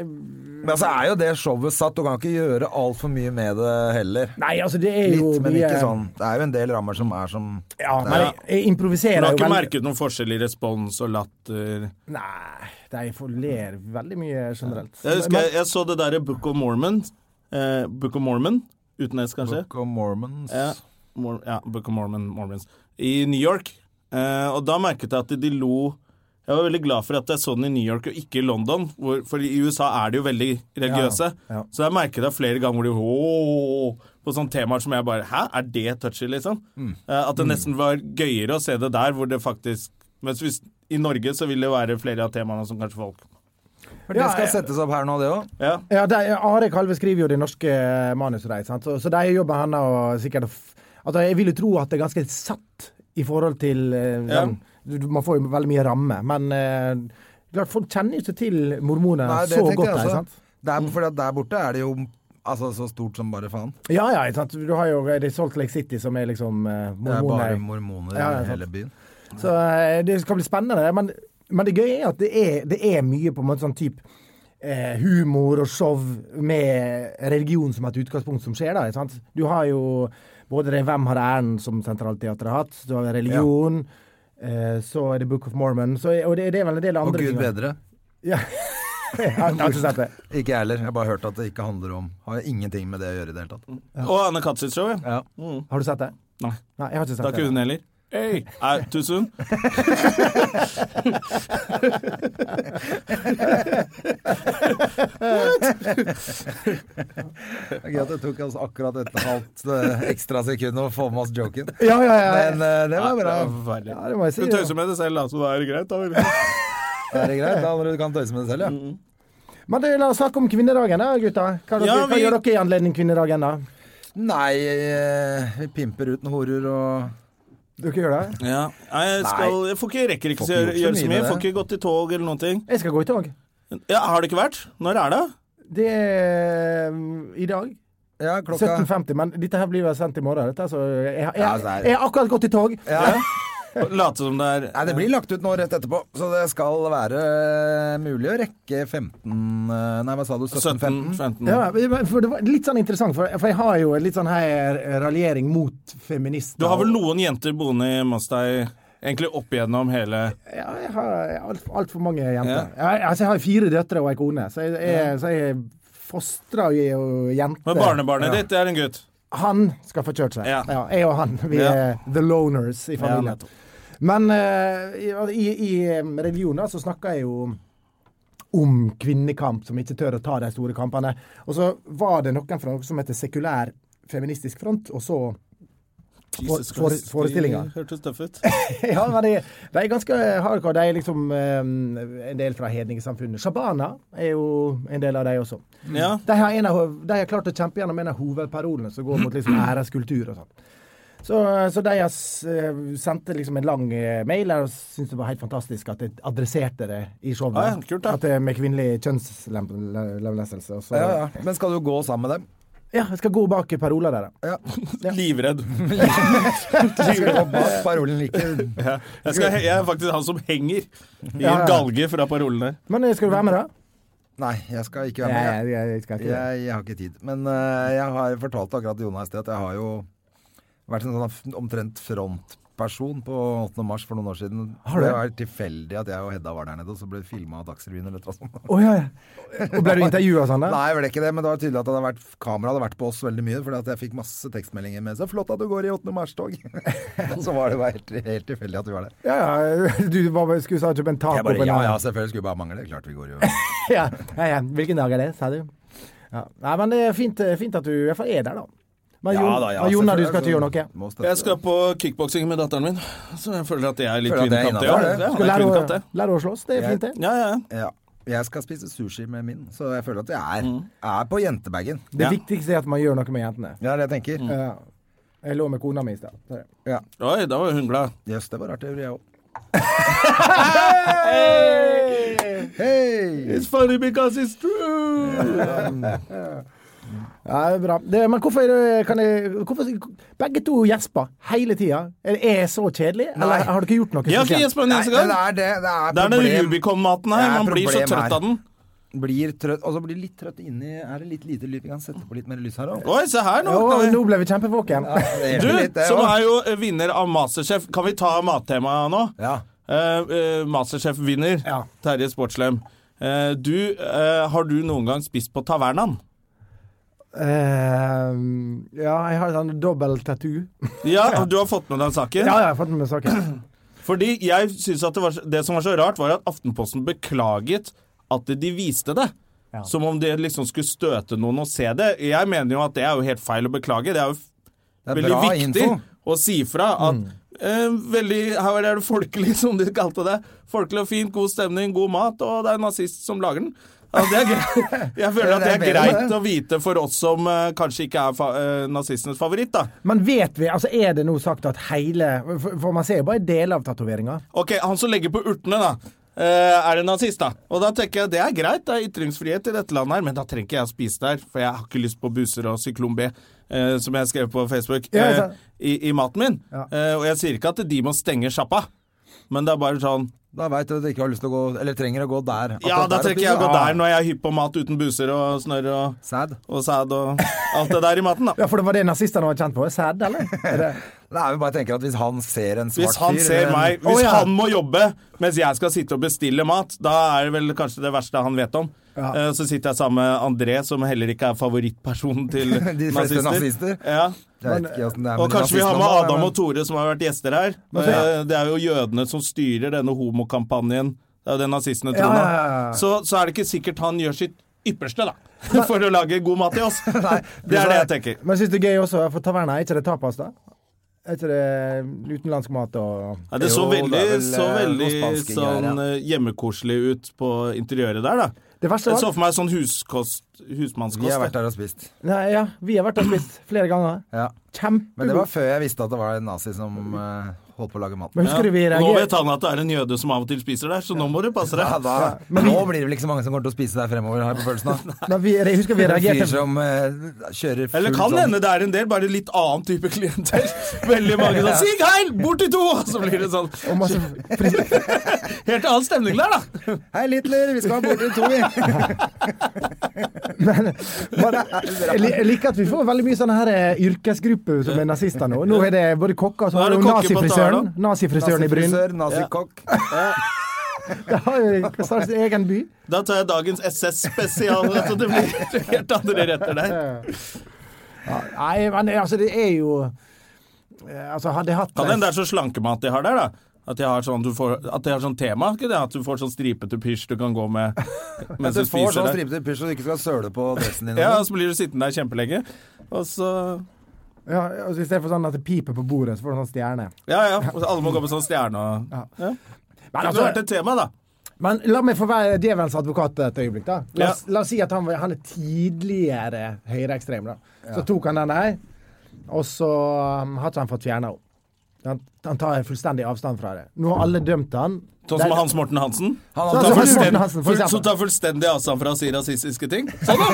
S4: Men altså er jo det showet satt, du kan ikke gjøre altfor mye med det heller.
S3: Nei, altså, det er jo
S4: Litt, men
S3: mye-
S4: ikke sånn. Det er jo en del rammer som er som
S3: Ja, men jeg, jeg improviserer
S1: Du har
S3: jo
S1: ikke
S3: veldig-
S1: merket noen forskjell i respons og latter.
S3: Nei, de får ler veldig mye generelt.
S1: Jeg husker jeg, jeg så det derre Book of Mormon. Eh, Book of Mormon. Uten S, kanskje.
S4: Book of Mormons.
S1: Ja, Mor ja Book of Mormon, Mormons. I New York. Eh, og da merket jeg at de lo Jeg var veldig glad for at jeg så den i New York og ikke i London, hvor, for i USA er de jo veldig religiøse.
S3: Ja, ja.
S1: Så jeg merket det flere ganger hvor de «Åh!» på sånne temaer som jeg bare Hæ, er det touchy, liksom?
S3: Mm.
S1: Eh, at det nesten var gøyere å se det der hvor det faktisk Mens hvis i Norge så vil det være flere av temaene som kanskje folk
S4: For det
S3: Ja,
S4: skal
S3: jeg-
S4: settes opp her nå, det òg.
S1: Ja.
S3: Ja, de, Are Kalve skriver jo de norske manusene, deres, sant? så, så de jobber henne og sikkert å f- Altså, Jeg vil jo tro at det er ganske satt i forhold til eh,
S1: Ja.
S3: den, du- du- Man får jo veldig mye ramme, men eh, klart, folk kjenner jo ikke til mormoner
S4: Nei, det
S3: så
S4: tenker
S3: godt.
S4: jeg
S3: der,
S4: også.
S3: sant? Mm.
S4: Det er fordi at der borte er det jo altså, så stort som bare faen.
S3: Ja, ja, ikke sant? Du har jo det er Salt Lake City, som er liksom eh,
S4: Det er
S3: mormoner.
S4: bare mormoner
S3: Ja,
S4: i
S3: ja, sant.
S4: hele byen.
S3: Så eh, det skal bli spennende. Men, men det gøye er at det er, det er mye på en måte sånn type eh, humor og show med religion som et utgangspunkt som skjer, da. Ikke sant? Du har jo både det 'Hvem har æren?' som Sentralteatret har hatt, du har religion, eh, så er det 'Book of Mormon', så, og det, det er vel en del
S2: Og
S3: andre
S2: gud
S3: ting, da.
S2: bedre.
S3: Ja. jeg har jeg har ikke sett det.
S2: Ikke jeg heller. Jeg har bare hørt at det ikke handler om Har ingenting med det å gjøre i det hele tatt.
S1: Og Anne Katzitz-show, ja.
S2: Mm. Ja.
S3: Har du sett det?
S1: Nei,
S3: Nei, jeg har ikke
S1: det har
S3: sett
S1: ikke
S3: det.
S1: hun heller. Hey, er too soon?
S2: Det er Gøy at det tok oss akkurat et halvt eh, ekstra sekund å få med oss joken.
S3: Ja, ja, ja.
S2: Men eh, det var bra.
S1: forferdelig.
S3: ja, det må jeg si.
S1: Du
S3: ja.
S1: tøyser med det selv, da, så da er det greit. Da.
S2: Det er greit. Da når du kan tøyse med det selv, ja.
S3: Men du, la oss snakke om kvinnedagen, da, gutta. Hva, dere,
S1: Ja,
S3: hva
S1: vi-
S3: gjør dere i anledning kvinnedagen, da?
S2: Nei, eh, vi pimper ut noen horer og
S3: Dere gjør det?
S1: Ja. Nei, jeg, skal, jeg får ikke rekker ikke
S2: Får
S1: så
S2: ikke
S1: gjøre,
S2: gjort så
S1: gjøre så
S2: mye
S1: mye.
S2: med
S1: Får
S2: det.
S1: ikke gått i tog eller noen ting.
S3: Jeg skal gå i tog.
S1: Ja, har det ikke vært? Når er det?
S3: Det er mm, i dag.
S2: Ja, klokka
S3: 17.50, men dette her blir vel sendt i morgen. Dette, så jeg, jeg,
S2: Ja,
S3: jeg,
S2: altså, her-
S3: jeg har akkurat gått i tog.
S2: ja.
S1: Late som det er
S2: Nei, det blir lagt ut nå rett etterpå, så det skal være eh, mulig å rekke 15 eh, Nei, hva sa du? 17-15?
S1: 17-15.
S3: Ja, for det var litt sånn interessant, for, for jeg har jo litt sånn her raljering mot feminister.
S1: Du har vel noen jenter boende i Mastei egentlig opp igjennom hele
S3: Ja, jeg har altfor alt for mange jenter.
S1: Ja.
S3: Jeg, altså, jeg har fire døtre og ei kone, så jeg, jeg, så jeg fostrer jo jenter.
S1: Men barnebarnet ditt, det er en gutt.
S3: Han skal få kjørt seg. Ja.
S1: Ja.
S3: jeg og han. Vi
S1: Ja.
S3: er the loners i
S1: Ja,
S3: familien.
S1: nettopp.
S3: Men eh, i, i religion da, så snakker jeg jo om kvinnekamp, som ikke tør å ta de store kampene. Og så var det noen fra noe som heter sekulær feministisk front, og så
S1: Jesus
S3: for-
S1: Christ,
S3: forestillinger.
S1: de Hørtes tøff ut.
S3: Ja, men de, de er ganske hardcore. De er liksom eh, en del fra hedningesamfunnet. Shabana er jo en del av de også.
S1: Ja.
S3: De har, en av, hov- de har klart å kjempe gjennom en av hovedparolene som går mot liksom
S2: Mm.
S3: æreskultur og sånn. Så, så de har s- eh, sendte liksom en lang eh, mail og syntes det var helt fantastisk at jeg adresserte det i showet.
S1: Ja, ja, kult da.
S3: At det er med kvinnelig kjønnslemlestelse. og så-
S2: Ja, ja. Men skal du gå sammen med dem?
S3: Ja, jeg skal gå bak paroler der, da.
S1: Livredd.
S2: Du skal gå bak parolen like
S1: Ja. Jeg, skal, he- jeg er faktisk han som henger i
S3: Ja,
S1: en
S3: ja.
S1: galge fra parolene.
S3: Men eh, skal du være med, da?
S2: Nei, jeg skal ikke være med.
S3: Nei, jeg, jeg skal ikke det.
S2: Jeg, jeg har ikke tid. Men eh, jeg har fortalt akkurat til Jonas det at jeg har jo vært en sånn f- omtrent frontperson på 8. mars for noen år siden.
S3: Har du
S2: det
S3: det?
S2: var tilfeldig at jeg og Hedda var der nede, og så ble det filma av Dagsrevyen eller noe sånt.
S3: Å ja, ja. Og ble du intervjua sånn, da?
S2: Nei, jeg ble ikke det, men det var tydelig at det hadde vært, kameraet hadde vært på oss veldig mye, fordi at jeg fikk masse tekstmeldinger med 'Så flott at du går i 8. mars-tog'. så var det bare helt, helt tilfeldig at vi var der.
S3: Ja, ja. Du var, skulle sa kjøpe en taco
S2: Jeg bare,
S3: på en
S2: ja, ja,
S3: annen.
S2: selvfølgelig skulle bare mangle. Klart vi går jo
S3: ja, ja, ja. Hvilken dag er det, sa du? Ja. Nei, men det er fint, fint at du i hvert fall er der, da. Men Jon, men Jonna, du skal ikke gjøre noe?
S2: altså, Må støtte.
S1: Jeg skal på kickboksing med datteren min, så jeg føler at jeg er litt
S2: Føler at det er
S1: kvinnekamp. Ja,
S2: innenfor, det.
S1: ja,
S3: Skal
S1: det er
S3: lære
S1: kvinnekamp,
S3: å,
S1: det.
S3: lære å slåss, det er fint, det.
S1: Ja, ja.
S2: Ja. Jeg skal spise sushi med min, så jeg føler at jeg er,
S1: Mm.
S2: er på jentebagen.
S3: Det
S1: Ja.
S3: viktigste er at man gjør noe med jentene.
S2: Det er det jeg tenker.
S1: Mm.
S2: Jøss,
S3: Ja. Jeg lå med kona mi i stad. så-
S1: Oi, da var hun glad.
S2: det var rart, det gjorde jeg òg. Hei!
S1: It's funny because it's true!
S3: Ja, det er bra. Det, men hvorfor, er det, kan jeg, hvorfor Begge to gjesper hele tida. Er det- Er jeg så kjedelig, eller har dere gjort noe?
S1: Jeg har ikke
S3: spesielt?
S1: gjespa en
S2: Nei,
S1: eneste
S2: det
S1: gang.
S2: er det. Det er
S1: Det er den
S2: problem.
S1: Rubicon-maten
S2: Det
S1: her.
S2: er
S1: Man blir så
S2: problem
S1: trøtt
S2: her.
S1: av den.
S2: Blir trøtt, og så blir litt trøtt inni Er det litt lite lyd? Vi kan sette på litt mer lys her òg.
S1: Oi, se her nå.
S3: Å,
S1: Kan vi-
S3: nå ble vi kjempevåken.
S1: Du, som er jo eh, vinner av Masterchef. Kan vi ta mattemaet nå?
S2: Ja.
S1: Eh, eh, Masterchef-vinner
S3: Ja.
S1: Terje Sportslem. Eh, du, eh, har du noen gang spist på tavernaen?
S3: Ehm, ja, jeg har sånn dobbel tattoo.
S1: Ja, du har fått med deg saken?
S3: Ja, ja, jeg har fått med saken.
S1: Fordi jeg synes at det, var, det som var så rart, var at Aftenposten beklaget at de viste det. Som om det liksom skulle støte noen å se det. Jeg mener jo at det er jo helt feil å beklage. Det er jo
S2: Det er
S1: veldig
S2: bra
S1: viktig
S2: info. Mm.
S1: å si fra at eh, veldig, Her er det folkelig, som de kalte det. Folkelig og fint, god stemning, god mat, og det er en nazist som lager den. Ja, det er greit. Jeg føler at det er
S2: Det er bedre,
S1: greit
S2: det.
S1: å vite for oss som eh, kanskje ikke er fa eh, nazistenes favoritt, da.
S3: Men vet vi, altså er det nå sagt at hele For, for man ser jo bare deler av tatoveringa.
S1: Ok, han som legger på urtene, da. eh, er en nazist, da. Og da tenker jeg det er greit, det er ytringsfrihet i dette landet her, men da trenger ikke jeg å spise der, for jeg har ikke lyst på buser og syklon B, eh, som jeg skrev på Facebook,
S3: Ja,
S1: eh,
S3: jeg sa-
S1: i, i maten min.
S3: Ja.
S1: Eh, og jeg sier ikke at de må stenge sjappa. Men det er bare sånn
S2: Da veit du at du ikke har lyst til å gå Eller trenger å gå der. Akkurat
S1: Ja, da
S2: der og
S1: trekker
S2: spise.
S1: jeg å gå
S2: Ah,
S1: der når jeg er hypp på mat uten buser og snørr og,
S2: Sad.
S1: og sæd og alt det der i maten, da.
S3: Ja, for det var det nazistene var kjent på. Sæd, eller? Er det-
S2: Nei, men bare tenker at hvis han ser en svart
S1: Hvis han
S2: fyr,
S1: ser
S2: men-
S1: meg
S2: Å,
S1: Hvis
S2: ja.
S1: han må jobbe mens jeg skal sitte og bestille mat, da er det vel kanskje det verste han vet om.
S3: Ja.
S1: Eh, Så sitter jeg sammen med André, som heller ikke er favorittpersonen til
S2: De
S1: nazister.
S2: fleste nazister.
S1: Ja.
S2: Jeg vet ikke hvordan det
S1: Og
S2: er med de
S1: kanskje vi har med
S2: nazistene,
S1: Adam
S2: men-
S1: og Tore, som har vært gjester her. Eh, Det er jo jødene som styrer denne homokampanjen. Det er jo det nazistene tror
S3: Ja,
S1: nå.
S3: ja, ja, ja.
S1: Så, så er det ikke sikkert han gjør sitt ypperste, da. For å lage god mat til oss. Det er det jeg tenker.
S3: Men jeg syns det er gøy også, for taverna, er ikke det tapas, da? Er ikke det utenlandsk mat og
S1: Ja, det så
S2: Jo, det er
S1: veldig,
S2: vel,
S1: så
S2: eh,
S1: veldig
S2: noe spanske
S1: sånn
S2: greier,
S1: eh, hjemmekoselig ut på interiøret der, da.
S3: Det verste
S1: Jeg så
S3: var
S1: for meg sånn huskost,
S2: Vi har vært
S1: husmannskost. da.
S2: der og spist.
S3: Nei, ja, vi har vært og spist flere ganger.
S2: Ja. Men det var
S3: Kjempegod.
S2: før jeg visste at det var en nazi som eh, holdt på å lage mat.
S3: Men husker du vi
S1: Nå vet
S3: reagerte
S1: han at det er en jøde som av og til spiser der, så nå må du passe
S2: Ja,
S1: deg.
S2: da, men nå blir det vel ikke så mange som kommer til å spise der fremover, har jeg på følelsen av.
S3: Men vi, jeg husker vi
S2: En fyr
S3: reagerte
S2: som eh, kjører full
S1: Eller kan
S2: sånn
S1: hende det er en del, bare litt annen type klienter. Veldig mange sånn 'Sig heil! Bort i to!' Så blir det sånn.
S3: og masse fri-
S1: Helt annen stemning der, da.
S2: Hei, Littler, vi skal ha bort til to, vi.
S3: bare, jeg, eh, li- jeg liker at vi får veldig mye sånne her eh, yrkesgrupper som er nazister nå. Nå er det både kokker og
S1: Nå er
S3: sånn.
S1: det
S3: Og
S1: kokker på
S3: nazifrisøren.
S1: taverna.
S3: Nazifrisøren i Bryn.
S2: Nazifrisør, nazikokk.
S3: Det har jo snart sin egen by.
S1: Da tar jeg dagens SS-spesial, så det blir helt andre retter der.
S3: Nei, men altså, det er jo eh, Altså, hadde jeg hatt
S1: Kan hende det er så slankemat de har der, da. At de har sånn, du får, at de har sånn tema. Ikke det? At du får sånn stripete pysj du kan gå med mens
S2: Du
S1: du
S2: får
S1: spiser
S2: sånn
S1: der.
S2: stripete pysj så du ikke skal søle på dressen din.
S1: Ja,
S3: sånn.
S1: og så blir du sittende der kjempelenge. Og så
S3: ja, altså, I stedet for sånn at det piper på bordet, så får du sånn stjerne.
S1: Ja ja, og så alle må gå med sånn stjerne og ja.
S3: Men,
S1: Det kunne vært
S3: altså,
S1: et tema, da.
S3: men la meg få være djevelens advokat et øyeblikk, da. La oss,
S1: Ja.
S3: la oss si at han, var- han er tidligere høyreekstrem, da. Så tok han den her, og så um, har ikke han fått fjerna henne. Han, han tar fullstendig avstand fra det. Nå har alle dømt han.
S1: Sånn som Hans Morten Hansen.
S2: Han
S3: Sånn
S1: Tar
S3: som Hans
S1: fullstend-
S3: Morten Hansen, for
S1: full- Som
S3: eksempel.
S1: tar fullstendig avstand fra å si rasistiske ting. Sånn, da!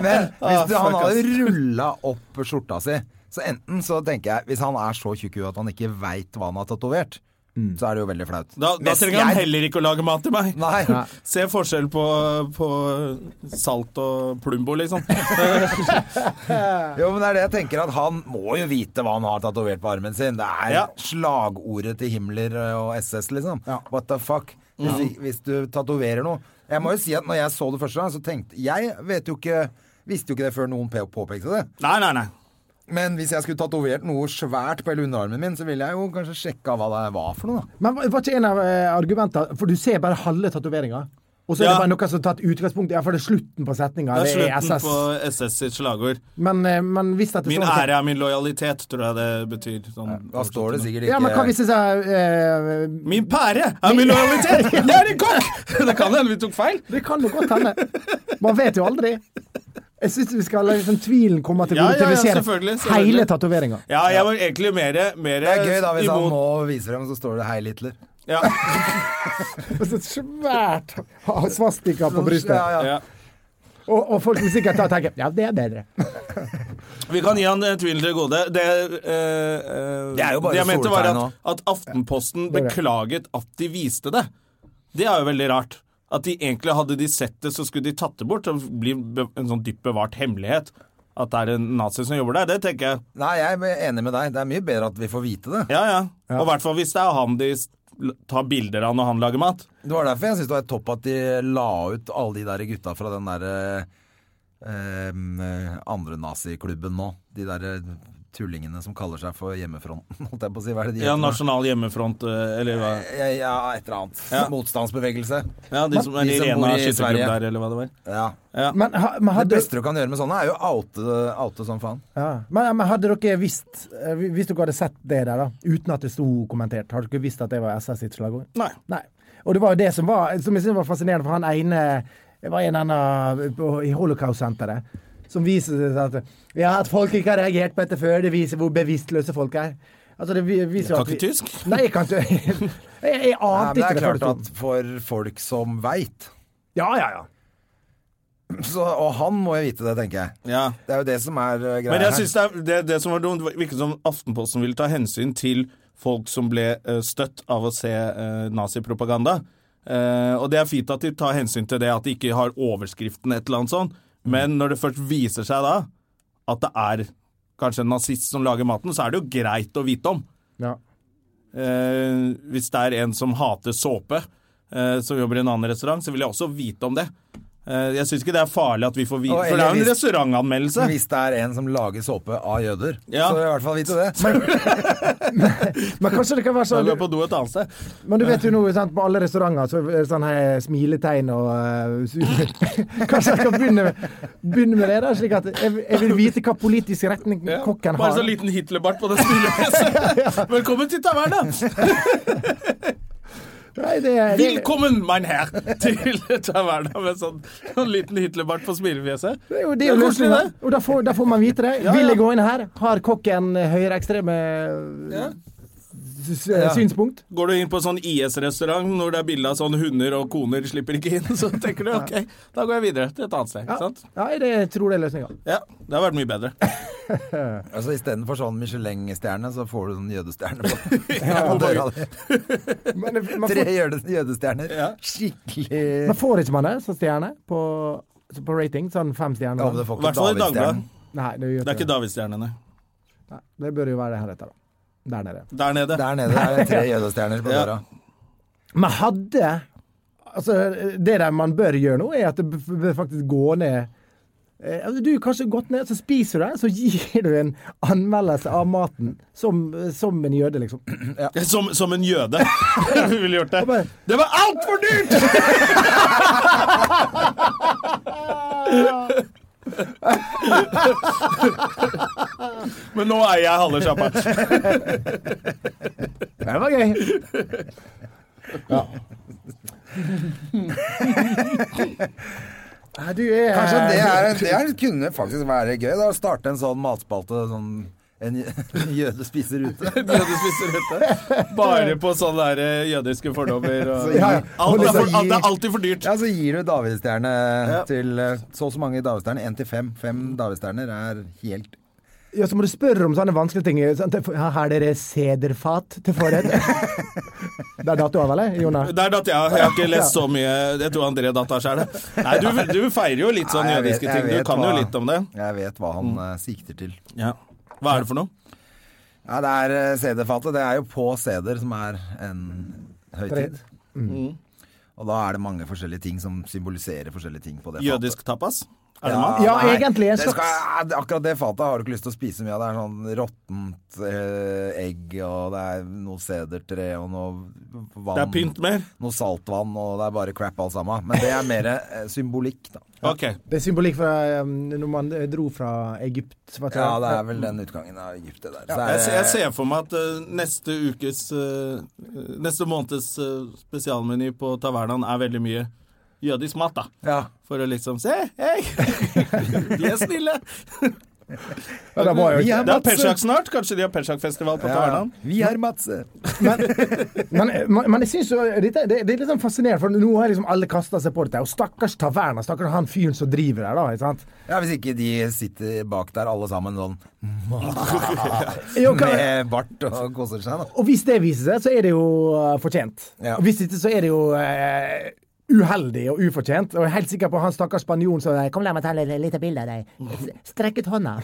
S2: Men hvis du,
S1: Ah,
S2: han
S1: fuck,
S2: hadde
S1: ass.
S2: rulla opp skjorta si, så enten så tenker jeg Hvis han er så tjukk i huet at han ikke veit hva han har tatovert, så er det jo veldig flaut.
S1: Da, da
S2: Mens
S1: trenger han
S2: jeg-
S1: heller ikke å lage mat til meg.
S2: Nei.
S1: Se forskjell på, på salt og Plumbo, liksom.
S2: Jo, men det er det jeg tenker, at han må jo vite hva han har tatovert på armen sin. Det er
S1: Ja.
S2: slagordet til Himmler og SS, liksom. What the fuck? Hvis, hvis du tatoverer noe Jeg må jo si at når jeg så det første gang, så tenkte Jeg vet jo ikke Visste jo ikke det før noen pe- påpekte det.
S1: Nei, nei, nei.
S2: Men hvis jeg skulle tatovert noe svært på hele underarmen min, så ville jeg jo kanskje sjekka hva det var for noe, da.
S3: Men var var ikke en av eh, argumentene For du ser bare halve tatoveringa. Og så er
S1: Ja.
S3: det bare noen som har tatt utgangspunkt i ja, for det er slutten på setninga.
S1: Det
S3: Det
S1: er
S3: er
S1: slutten
S3: SS.
S1: på SS sitt slagord.
S3: Men, eh, men hvis dette
S1: Min
S3: står-
S1: ære er min lojalitet, tror jeg det betyr. Sånn,
S2: Da står det sikkert ikke
S3: Ja, men hva hvis det er eh,
S1: Min pære er min lojalitet! Jeg er en kokk! Det kan hende vi tok feil.
S3: Det kan jo godt hende. Man vet jo aldri. Jeg syns vi skal la liksom tvilen komme til
S1: Ja,
S3: gode
S1: ja, ja,
S3: til vi ser
S1: selvfølgelig, selvfølgelig.
S3: hele tatoveringa.
S1: Ja, jeg var egentlig mer, mer
S2: Det er gøy, da, hvis han
S1: imot
S2: nå viser dem, så står det 'Hei, Hitler'.
S1: ja,
S3: Svært svastika på brystet.
S2: Ja, ja.
S1: ja.
S3: Og, og folk vil sikkert da tenke ja, det er bedre.
S1: Vi kan gi han eh, tvilen til gode. Det, eh, eh,
S2: Det er jo bare
S1: jeg mente var
S2: soltegn
S1: at,
S2: nå.
S1: at Aftenposten
S3: det.
S1: beklaget at de viste det. Det er jo veldig rart. At de egentlig hadde de sett det, så skulle de tatt det bort. Det blir be- en sånn dypt bevart hemmelighet. At det er en nazi som jobber der, det tenker jeg.
S2: Nei, jeg er enig med deg. Det er mye bedre at vi får vite det.
S1: Ja, ja. Og i hvert fall hvis det er han de s- l- tar bilder av når han lager mat.
S2: Det var derfor jeg syntes det var topp at de la ut alle de der gutta fra den der eh, eh, andre naziklubben nå. De der eh, tullingene som kaller seg for Hjemmefronten, holdt jeg på å si. Hva er det de
S1: Ja,
S2: heter nå?
S1: Nasjonal hjemmefront, eh, eller hva?
S2: ja, ja, et eller annet. Motstandsbevegelse.
S1: Ja, De som er
S2: De
S1: i
S2: som
S1: Rena
S2: bor i
S1: skytterklubb
S2: Sverige.
S1: der, eller hva det var.
S2: Ja.
S3: Men, ha, men,
S2: Det
S3: hadde,
S2: beste du kan gjøre med sånne, er jo oute, oute som faen.
S3: ja. men, men hadde dere visst eh, Hvis dere hadde sett det der, da, uten at det sto kommentert, hadde dere visst at det var SS sitt slagord?
S1: Nei.
S3: Nei. Og det var jo det som var Som jeg synes var fascinerende, for han ene Det var en annen på- i Holocaust-senteret som viser seg at Ja, at folk ikke har reagert på dette før, det viser hvor bevisstløse folk er. Altså, det vi- viser
S1: Jeg
S3: jo at
S1: kan ikke
S3: vi-
S1: tysk.
S3: Nei, jeg kan ikke Jeg, jeg
S2: Nei, men
S3: ante
S2: det
S3: ikke
S2: er
S3: det før
S2: klart
S3: det sto.
S2: at for folk som veit
S3: Ja, ja, ja.
S2: Og han må jo vite det, tenker jeg.
S1: Ja.
S2: Det er jo det som er eh, greia
S1: Men jeg
S2: her.
S1: sånn synes det, er, det, det som var dumt, virket som Aftenposten ville ta hensyn til folk som ble eh, støtt av å se eh, nazipropaganda. Eh, og det er fint at de tar hensyn til det, at de ikke har overskriften et eller annet sånt. Men når det først viser seg da at det er kanskje en nazist som lager maten, så er det jo greit å vite om.
S3: Ja.
S1: Eh, hvis det er en som hater såpe, eh, som jobber i en annen restaurant, så vil jeg også vite om det. Eh, jeg syns ikke det er farlig at vi får vite
S2: Og
S1: For det er jo en
S2: eller hvis-
S1: restaurantanmeldelse.
S2: Hvis det er en som lager såpe av jøder,
S1: Ja.
S2: så vil jeg i hvert fall vite det.
S3: Men kanskje det kan være
S1: Da
S3: sånn
S1: går jeg på do et annet sted.
S3: Men du vet jo nå, sant, på alle restauranter så er det sånn her smiletegn og eh, su- Kanskje jeg skal begynne med, begynne med det, da, slik at jeg, jeg vil vite hva politisk retning
S1: Ja.
S3: kokken
S1: Bare
S3: har.
S1: så liten Hitlerbart på det smilefjeset. Velkommen til taverna!
S3: Nei, det, det,
S1: Velkommen, mein herr, til taverna med sånn, sånn liten Hitlerbart på smilefjeset.
S3: det er jo, det er
S1: Det er
S3: jo
S1: koselig,
S3: løsningen. Og da får, da får man vite det.
S1: Ja,
S3: Vil
S1: ja.
S3: jeg gå inn her? Har kokken eh, høyreekstreme
S1: Ja.
S3: s- s- synspunkt?
S1: Går du inn på sånn IS-restaurant når det er bilde av sånn hunder og koner slipper ikke inn, så tenker du ok, da går jeg videre til et annet sted. ikke
S3: Ja.
S1: sant?
S3: Nei, det jeg tror det er løsninga.
S1: Ja, Det har vært mye bedre.
S2: Altså Istedenfor sånn Michelin-stjerne, så får du sånn jødestjerne på, på
S3: Ja.
S2: døra di.
S3: Men det- man,
S2: Tre
S3: får-
S2: jøde- jødestjerner.
S1: Ja.
S2: Skikkelig
S3: man får ikke man det som stjerne på, på rating? Sånn fem stjerner?
S2: Ja, men det får
S1: I
S2: ikke
S1: hvert fall i
S2: Davidstjernen.
S1: Dagbladet.
S3: Nei, det, gjør
S1: Det er ikke Davidstjernene.
S3: Nei, det bør jo være det her etter, da. Der nede.
S1: Der nede.
S2: Der nede er det tre jødestjerner på
S1: Ja.
S2: døra.
S3: Men hadde Altså, det der man bør gjøre nå, er at det b- bør faktisk gå ned Eh, altså, Du har kanskje gått ned, så spiser du det, så gir du en anmeldelse av maten. Som, som en jøde, liksom. Ja.
S1: Som, som en jøde. Vi ville gjort det.
S3: bare-
S1: Det var altfor dyrt! Men nå eier jeg halve sjappa.
S3: Det var gøy. Ja. Nei, du er
S2: Kanskje det, er, det er, kunne faktisk være gøy. da, Å starte en sånn matspalte. Sånn, en jø- jøde spiser ute.
S1: Jøder spiser ute. Bare på sånne der eh, jødiske fordommer. Og...
S2: Ja, ja.
S1: Alt, er for,
S2: Og
S1: alt
S2: liksom
S1: er alltid for dyrt.
S2: Ja, Så gir du davidstjerne til eh, så og så mange davidstjerner. Én til fem. Fem davidstjerner er helt
S3: Ja, så må du spørre om sånne vanskelige ting. Sånn, til- her har dere sederfat til forrett. det er datoen, vel? eh, Jonna?
S1: Der datt jeg. Jeg har ikke lest så mye. Jeg tror André datt av sjæl. Nei, du, du feirer jo litt sånn
S2: Nei, jeg vet-
S1: jødiske
S2: jeg
S1: ting. Du
S2: vet
S1: kan jo
S2: hva-
S1: litt om det. Mm.
S2: Jeg vet hva han eh, sikter til.
S1: Ja. Hva er det for noe?
S2: Ja, det er eh, sederfatet. Det er jo på seder som er en høytid. Og da er det mange forskjellige ting som symboliserer forskjellige ting på det fatet.
S1: Jødisk tapas? Er det mat?
S3: Ja,
S2: nei,
S3: egentlig en
S2: det
S3: slags-
S2: Skal, ja, akkurat det fatet har du ikke lyst til å spise mye av. Det er sånn råttent eh, egg, og det er noe sedertre, og noe vann.
S1: Det er pynt mer?
S2: Noe saltvann, og det er bare crap alt sammen. Men det er mer eh, symbolikk, da.
S1: Ok.
S3: Det er symbolikk fra um, når man eh, dro fra Egypt. Vet du.
S2: Ja, mm. det er vel den utgangen av Egypt, det der. Så er
S1: Jeg,
S2: det-
S1: ser- jeg ser for meg at eh, neste ukes eh, Neste måneds eh, spesialmeny på tavernaen er veldig mye jødisk mat, da.
S2: ja.
S1: For å liksom Se, hei! De er snille!
S3: Ja, det var jo
S2: Vi
S3: ikke.
S2: er
S1: Det er
S2: Madsen.
S1: Pesjak snart. Kanskje de har Pesjak-festival på
S2: Ja.
S1: Tavernaen?
S2: Vi er Madse.
S3: Men, eh, men, men jeg synes jo dette, det, det er litt sånn fascinerende, for nå har liksom alle kasta seg på dette. Og stakkars taverna, stakkars han fyren som driver der, da. ikke sant?
S2: Ja, Hvis ikke de sitter bak der alle sammen sånn
S3: Jo, hva-
S2: med bart og koser seg. da
S3: og hvis det viser seg, så er det jo eh, fortjent.
S2: Ja.
S3: Og hvis ikke, så er det jo eh, uheldig og ufortjent. Og jeg er helt sikker på han stakkars spanjolen som eh, Kom, la meg ta et lite bilde av deg. Strekk ut hånda.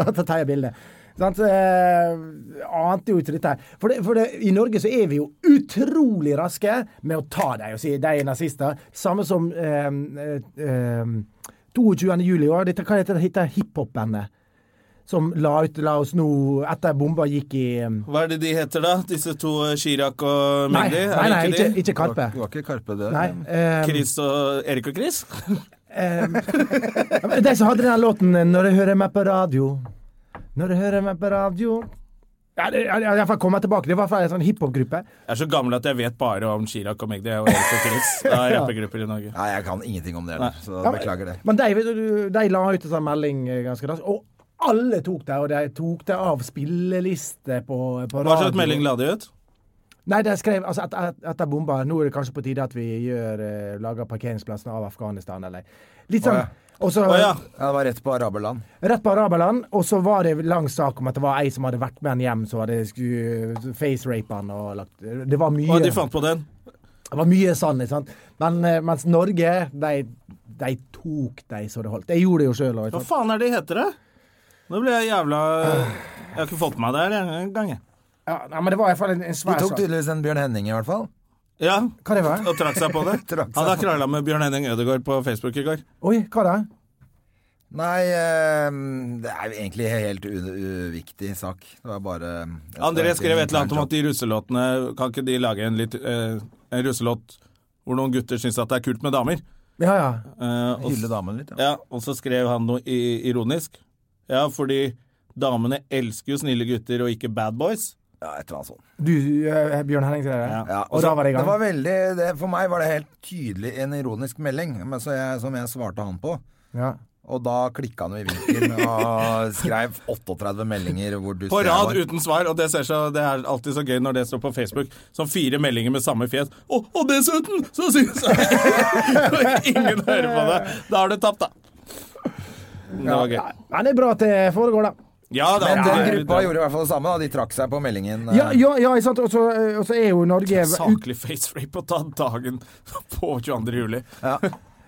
S3: Så tar jeg bilde. Sant? Eh, ante jo ikke dette her. For, det, for det, i Norge så er vi jo utrolig raske med å ta dem og si de er nazister. Samme som eh, eh, eh, 22. juli i år. Dette, hva heter det? Heter hiphop-bandet? Som la ut La oss nå, etter bomba gikk i eh,
S1: Hva er det de heter, da? Disse to eh, Chirag og
S3: Nei,
S1: Magdi?
S3: nei, nei ikke, ikke Karpe.
S2: Det var ikke Karpe, det.
S3: Nei, eh,
S1: Chris og Erik og Chris?
S3: de som hadde den låten eh, 'Når jeg hører meg på radio'. Når jeg hører meg på radio ja, det, ja, ja, jeg får komme tilbake. Det var fra en sånn hiphop-gruppe.
S1: Jeg er så gammel at jeg vet bare om Chirag og Magdi og Erik og Chris. Det er rappegrupper i Norge.
S2: Nei, jeg kan ingenting om det heller, så
S3: Ja, men-
S2: beklager det.
S3: Men de, vet du, de la ut en sånn melding eh, ganske raskt, og alle tok det. Og de tok det av spilleliste på, på
S1: Hva slags melding la de ut?
S3: Nei, de skrev altså, et, et, etter bomba Nå er det kanskje på tide at vi gjør, eh, lager parkeringsplassene av Afghanistan, eller Litt sånn.
S2: Å,
S3: Og så
S1: Å ja.
S2: Ja, det var rett på araberland.
S3: rett på araberland, og så var det lang sak om at det var ei som hadde vært med han hjem, som hadde face-rapet han og lagt Det var mye.
S1: Og de fant på den.
S3: Det var mye sånn, ikke sant. Men eh, mens Norge, de, de tok de så det holdt. Jeg gjorde det jo sjøl òg.
S1: Hva faen er det de heter, det? Nå ble jeg jævla Jeg har ikke fått med meg det her jeg, en gang, jeg.
S3: Ja, nei, men det var i hvert fall en, en
S2: De
S3: svær
S2: tok
S3: sak.
S2: tydeligvis en Bjørn Henning, i hvert fall.
S1: Ja,
S3: Hva det var?
S1: og trakk seg på det.
S2: Trakk
S1: Han
S2: seg på
S1: har
S2: det.
S1: krangla med Bjørn Henning Ødegaard på Facebook i går.
S3: Oi, hva da?
S2: Nei, eh, det er jo egentlig en helt u- uviktig sak. Det var bare jeg
S1: André skrev et eller annet om at
S2: de
S1: de russelåtene Kan ikke de lage en, litt, eh, en russelåt hvor noen gutter syns at det er kult med damer?
S3: Ja, ja.
S1: Eh, og,
S2: Hylle damen litt, ja.
S1: ja, og så skrev han noe i, ironisk. Ja, fordi damene elsker jo snille gutter og ikke bad boys.
S2: ja et eller annet sånt.
S3: Du, eh, Bjørn Henning, skrev det?
S2: Ja,
S3: Og da var det i gang?
S2: var veldig, det, for meg var det helt tydelig en ironisk melding men så jeg, som jeg svarte han på.
S3: Ja.
S2: Og da klikka han jo i vinkel og skrev 38 meldinger hvor du
S1: På
S2: ser
S1: rad
S2: hvor-
S1: uten svar, og det, ser så, det er alltid så gøy når det står på Facebook. Som fire meldinger med samme fjes. Og, og dessuten så syns jeg Og Ingen hører på deg. Da har du tapt, da. Det var gøy.
S3: Men det er bra at det foregår, da.
S1: Ja, da,
S2: Men den
S1: det-
S2: gruppa gjorde i hvert fall det samme. da De trakk seg på meldingen. eh,
S3: Ja, ja, ja ikke sant. Og så eh, og så er jo Norge
S1: Saklig facerape å ta dagen på 22. juli.
S2: ja.